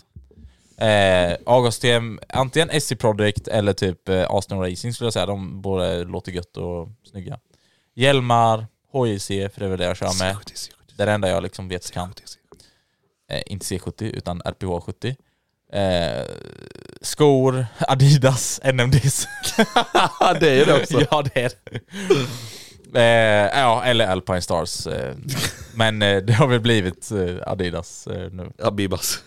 Speaker 3: Eh, Agostem, antingen SC Project eller typ eh, Aston Racing skulle jag säga. De båda låter gött och snygga. Hjälmar, HJC, för det är väl det jag kör med. Det är det enda jag liksom vet kan. Eh, inte C70 utan RPH70. Eh, skor, Adidas, NMDs.
Speaker 4: det är ju det också.
Speaker 3: ja det är det. eh, ja, eller Alpine Stars. Eh, men eh, det har väl blivit eh, Adidas eh, nu.
Speaker 4: Abibas.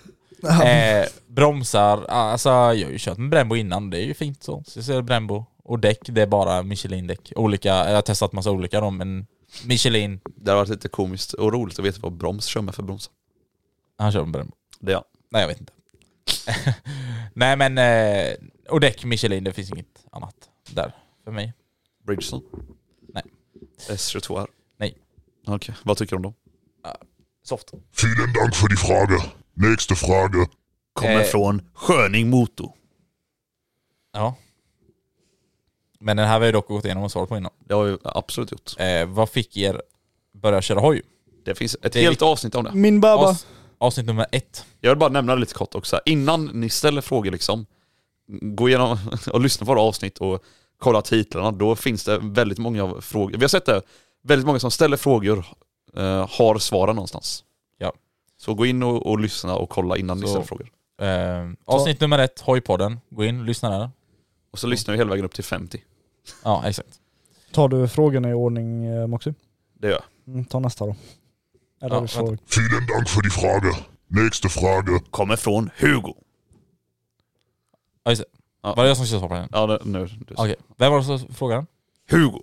Speaker 3: Eh, bromsar, alltså jag har ju kört med Brembo innan, det är ju fint så. Så jag ser Brembo. Och däck, det är bara Michelin-däck. Olika, jag har testat massa olika då men Michelin,
Speaker 4: Det hade varit lite komiskt och roligt att veta vad broms kör med för bromsar.
Speaker 3: han kör med Brembo.
Speaker 4: Det är jag.
Speaker 3: Nej jag vet inte. Nej men, eh, och däck Michelin, det finns inget annat där för mig.
Speaker 4: Bridgestone?
Speaker 3: Nej.
Speaker 4: S22R?
Speaker 3: Nej.
Speaker 4: Okej, vad tycker du om dem?
Speaker 3: Soft.
Speaker 7: Vielen Dank für die Frage. Nächste Frage.
Speaker 3: Kommer Eh.
Speaker 4: från Sköning Motor.
Speaker 3: Ja. Men den här har vi dock gått igenom och svarat på innan.
Speaker 4: Det har vi absolut gjort.
Speaker 3: Eh, vad fick er börja köra hoj?
Speaker 4: Det finns ett
Speaker 3: Det är
Speaker 4: helt avsnitt om det.
Speaker 5: Min baba.
Speaker 3: Avs- avsnitt nummer ett.
Speaker 4: Jag vill bara nämna det lite kort också. Innan ni ställer frågor liksom, gå igenom och lyssna på våra avsnitt och kolla titlarna. Då finns det väldigt många frågor. Vi har sett det, väldigt många som ställer frågor eh, har svaren någonstans.
Speaker 3: Ja.
Speaker 4: Så gå in och, och lyssna och kolla innan ni
Speaker 3: Så.
Speaker 4: ställer frågor.
Speaker 3: Eh, avsnitt nummer ett, Hojpodden. Gå in, lyssna där.
Speaker 4: Och så lyssnar vi hela vägen upp till 50.
Speaker 3: Ja, exakt.
Speaker 5: Tar du frågorna i ordning eh, Moxie?
Speaker 4: Det gör jag.
Speaker 5: Mm, ta nästa då. Eller
Speaker 3: Ja,
Speaker 5: du får...
Speaker 3: vänta.
Speaker 7: Vielen Dank für die Frage. Nächste Frage.
Speaker 4: Kommer från Hugo.
Speaker 3: Ja, just det.
Speaker 4: Ja.
Speaker 3: Var det jag som skulle svara på den?
Speaker 4: Ja, nu- nu. du.
Speaker 3: Okej. Vem var det som frågade?
Speaker 4: Hugo.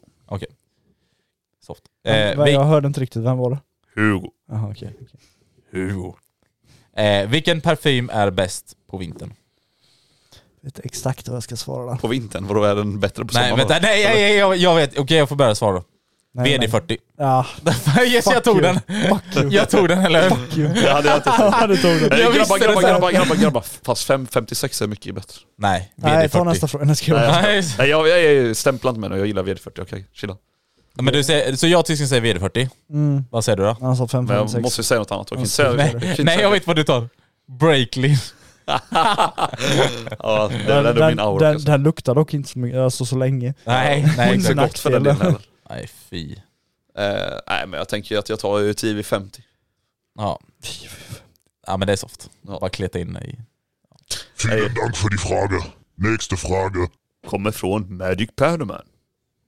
Speaker 3: Soft.
Speaker 5: Men-
Speaker 3: Eh,
Speaker 5: men
Speaker 3: vi,
Speaker 5: Jag hörde inte riktigt, vem var det?
Speaker 4: Hugo.
Speaker 5: Jaha okej. okej.
Speaker 3: Hugo. Eh, vilken parfym är bäst på vintern?
Speaker 5: Vet exakt vad jag ska svara där.
Speaker 4: På vintern, vadå är den bättre på
Speaker 3: Nej,
Speaker 4: sommaren?
Speaker 3: vänta. Nej, jag, jag, jag, jag vet. Okej, jag får börja svara då.
Speaker 5: Nej, nej.
Speaker 3: VD40.
Speaker 5: Ja,
Speaker 3: yes,
Speaker 5: Fuck
Speaker 3: jag tog
Speaker 5: you.
Speaker 3: den.
Speaker 5: fuck you.
Speaker 3: Jag tog den, eller hur?
Speaker 4: Det hade jag inte tänkt.
Speaker 5: Ja, du tog den.
Speaker 4: Eh,
Speaker 3: Jag visste
Speaker 4: grabbar,
Speaker 3: det
Speaker 4: grabbar,
Speaker 3: sen.
Speaker 4: grabbar, grabbar, grabbar. Fast 5,56 är mycket bättre.
Speaker 3: Nej, VD40.
Speaker 5: Nej, ta nästa fråga. Nej, ska jag...
Speaker 4: Nej,
Speaker 3: Nej,
Speaker 4: Nej jag, jag, jag stämplar inte med det, jag gillar VD40, okej, chilla.
Speaker 3: men du säger, så jag och tysken säger VD40.
Speaker 5: Mm.
Speaker 3: Vad säger du då?
Speaker 5: Han sa 5,
Speaker 4: Men
Speaker 5: 5,
Speaker 4: jag
Speaker 5: 6.
Speaker 4: måste ju säga något annat, jag kan inte säga,
Speaker 5: Nej,
Speaker 4: jag kan inte
Speaker 3: Nej,
Speaker 4: säga
Speaker 3: jag
Speaker 4: det.
Speaker 3: vet vad du tar. Breaklin.
Speaker 4: ja, det är
Speaker 5: Den,
Speaker 4: ändå
Speaker 5: den,
Speaker 4: min aura.
Speaker 5: den,
Speaker 4: kanske.
Speaker 5: den luktar dock inte så mycket, alltså så länge.
Speaker 3: Nej, nej.
Speaker 4: Inte så gott för den delen heller.
Speaker 3: Nej, fy.
Speaker 4: Eh, nej men jag tänker ju att jag tar ju TV50.
Speaker 3: Ja. ja, men det är soft.
Speaker 4: Ja.
Speaker 3: Bara kleta in i...
Speaker 7: Vielen Dank für die Frage. Nächste Frage.
Speaker 4: Kommer från Magic Perderman.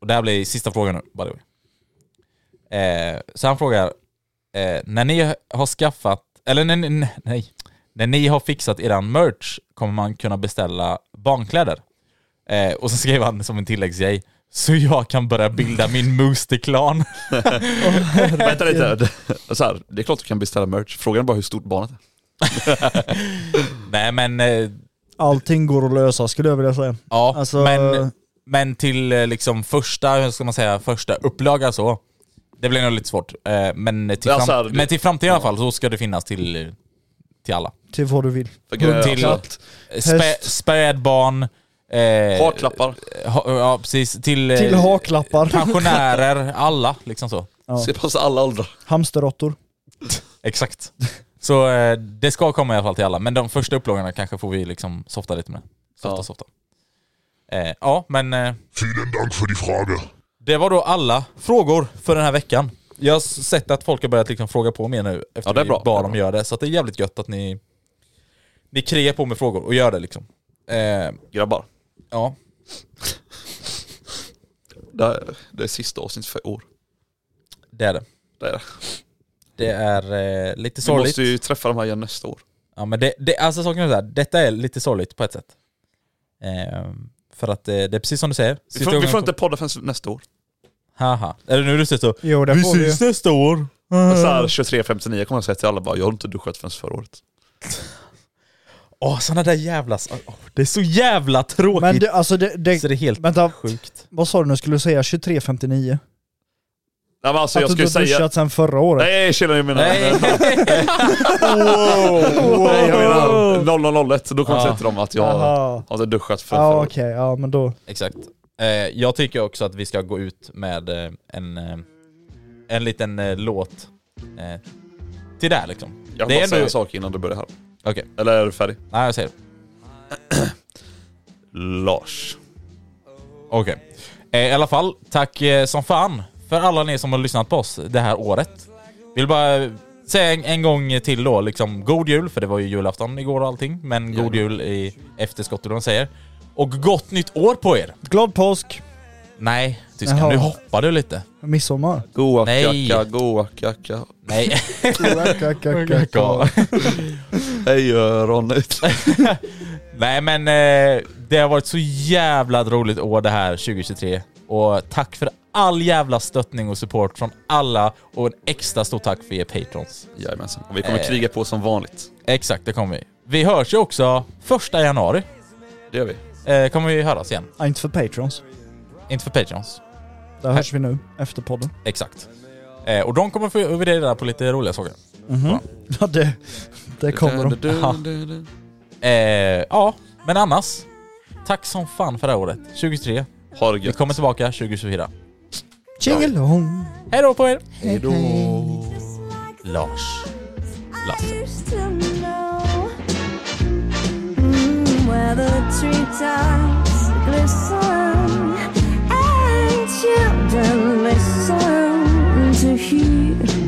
Speaker 3: Och det här blir sista frågan nu, by the way. Eh, så han frågar, eh, när ni har skaffat, eller när, ni- nej, när ni har fixat eran merch kommer man kunna beställa barnkläder. Eh, och så skrev han som en tilläggsgrej, så jag kan börja bilda min Mooster-klan.
Speaker 4: Vänta lite, så här, det är klart du kan beställa merch, frågan är bara hur stort barnet är.
Speaker 3: nej men, eh,
Speaker 5: Allting går att lösa skulle jag vilja säga.
Speaker 3: ja,
Speaker 5: Alltså-
Speaker 3: men, men till eh, liksom första, hur ska man säga, första upplaga så. Det blir nog lite svårt. Eh, men, till
Speaker 4: Ja, så här,
Speaker 3: fram-
Speaker 4: det-
Speaker 3: men till framtiden i alla fall så ska det finnas till, till alla.
Speaker 5: Till vad du vill.
Speaker 4: För grejen är
Speaker 3: Till-
Speaker 4: att-
Speaker 3: Spä,
Speaker 5: Häst.
Speaker 3: spädbarn. Eh,
Speaker 4: Haklappar,
Speaker 3: ha- ja, precis. Till, eh,
Speaker 5: Till haklappar,
Speaker 3: pensionärer, alla liksom så.
Speaker 5: Ja.
Speaker 4: ska passa alla åldrar.
Speaker 5: hamsterråttor.
Speaker 3: Exakt. Så eh, det ska komma i alla fall till alla, men de första upplagorna kanske får vi liksom softa lite med. Softa,
Speaker 4: Ja.
Speaker 3: softa. Eh, ja, men eh,
Speaker 7: Vielen Dank für die Frage.
Speaker 3: det var då alla frågor för den här veckan. Jag har s- sett att folk har börjat liksom fråga på mer nu efter
Speaker 4: Ja, det är bra.
Speaker 3: vi bad
Speaker 4: Det är
Speaker 3: dem
Speaker 4: bra.
Speaker 3: göra det, så att det är jävligt gött att ni, ni krigar på med frågor och gör det liksom. Eh,
Speaker 4: Grabbar,
Speaker 3: ja,
Speaker 4: det, här, det är sista avsnittet för i år.
Speaker 3: det är det.
Speaker 4: Det är det.
Speaker 3: Det är eh, lite
Speaker 4: Vi
Speaker 3: sorgligt.
Speaker 4: måste ju träffa de här igen nästa år.
Speaker 3: Ja men det, det alltså saken är så här, detta är lite sorgligt på ett sätt. Ehm, för att eh, det är precis som du säger.
Speaker 4: Vi får, vi får inte podda förrän nästa år.
Speaker 3: Haha. Eller nu är du så.
Speaker 5: Jo det
Speaker 3: Vi
Speaker 5: får vi
Speaker 3: syns nästa år!
Speaker 4: Men så här 23.59 kommer jag säga till alla bara, jag har inte duschat förrän förra året.
Speaker 3: Åh såna där jävla... åh, det är så jävla tråkigt!
Speaker 5: Men det, alltså det, det,
Speaker 3: så det är helt
Speaker 5: vänta,
Speaker 3: sjukt.
Speaker 5: vad sa du nu? Skulle du säga 23.59?
Speaker 4: Nej men alltså
Speaker 5: att
Speaker 4: jag
Speaker 5: du
Speaker 4: ska ju
Speaker 5: inte har
Speaker 4: säga...
Speaker 5: duschat sedan förra året?
Speaker 4: Nej chilla jag menar...
Speaker 3: Nej!
Speaker 4: Nej jag menar 0001, då kommer jag säga till dem att jag
Speaker 5: Jaha.
Speaker 4: har inte duschat förrän förra
Speaker 5: Ja
Speaker 4: året.
Speaker 5: okej, ja men då.
Speaker 3: Exakt. Eh, jag tycker också att vi ska gå ut med eh, en, eh, en liten eh, låt eh, till det här liksom.
Speaker 4: Jag
Speaker 3: det
Speaker 4: vill bara
Speaker 3: är
Speaker 4: säga en
Speaker 3: ändå...
Speaker 4: sak innan du börjar här.
Speaker 3: Okej,
Speaker 4: Eller är du färdig?
Speaker 3: nej jag säger det.
Speaker 4: Lars.
Speaker 3: Okej. Eh, I alla fall, tack eh, som fan för alla ni som har lyssnat på oss det här året. Vill bara eh, säga en, en gång till då, liksom god jul, för det var ju julafton igår och allting, men god jul i efterskott eller vad de säger. Och gott nytt år på er!
Speaker 5: Glad påsk,
Speaker 3: Nej, tyskan,
Speaker 5: Jaha.
Speaker 3: nu hoppar du lite.
Speaker 5: midsommar.
Speaker 4: Goa
Speaker 3: Nej.
Speaker 4: kacka, goa kacka.
Speaker 3: Nej.
Speaker 4: Hej Ronny.
Speaker 3: Nej men eh, det har varit så jävla roligt år det här 2023. Och tack för all jävla stöttning och support från alla och en extra stort tack för er patrons.
Speaker 4: Jajamensan. Och vi
Speaker 5: Eh.
Speaker 4: kommer kriga på som vanligt.
Speaker 3: Exakt, det kommer vi. Vi hörs ju också första januari.
Speaker 4: Det gör vi.
Speaker 3: Eh, kommer vi höras igen.
Speaker 5: Ja, inte för patrons.
Speaker 3: Inte för Patreons.
Speaker 5: Där hörs vi nu, efter podden.
Speaker 3: Exakt. Eh, och de kommer få över det där på lite roliga saker.
Speaker 5: Ja det, det kommer de.
Speaker 4: de.
Speaker 3: Eh, ja, men annars. Tack som fan för det här året. 2023.
Speaker 4: Ha det
Speaker 3: Vi
Speaker 4: gött.
Speaker 3: kommer tillbaka 2024.
Speaker 5: Tjingelong!
Speaker 3: Hej då på er!
Speaker 4: Hejdå.
Speaker 3: Lars. Lasse.
Speaker 2: used to know Mm, where the treetops glisten and children listen to hear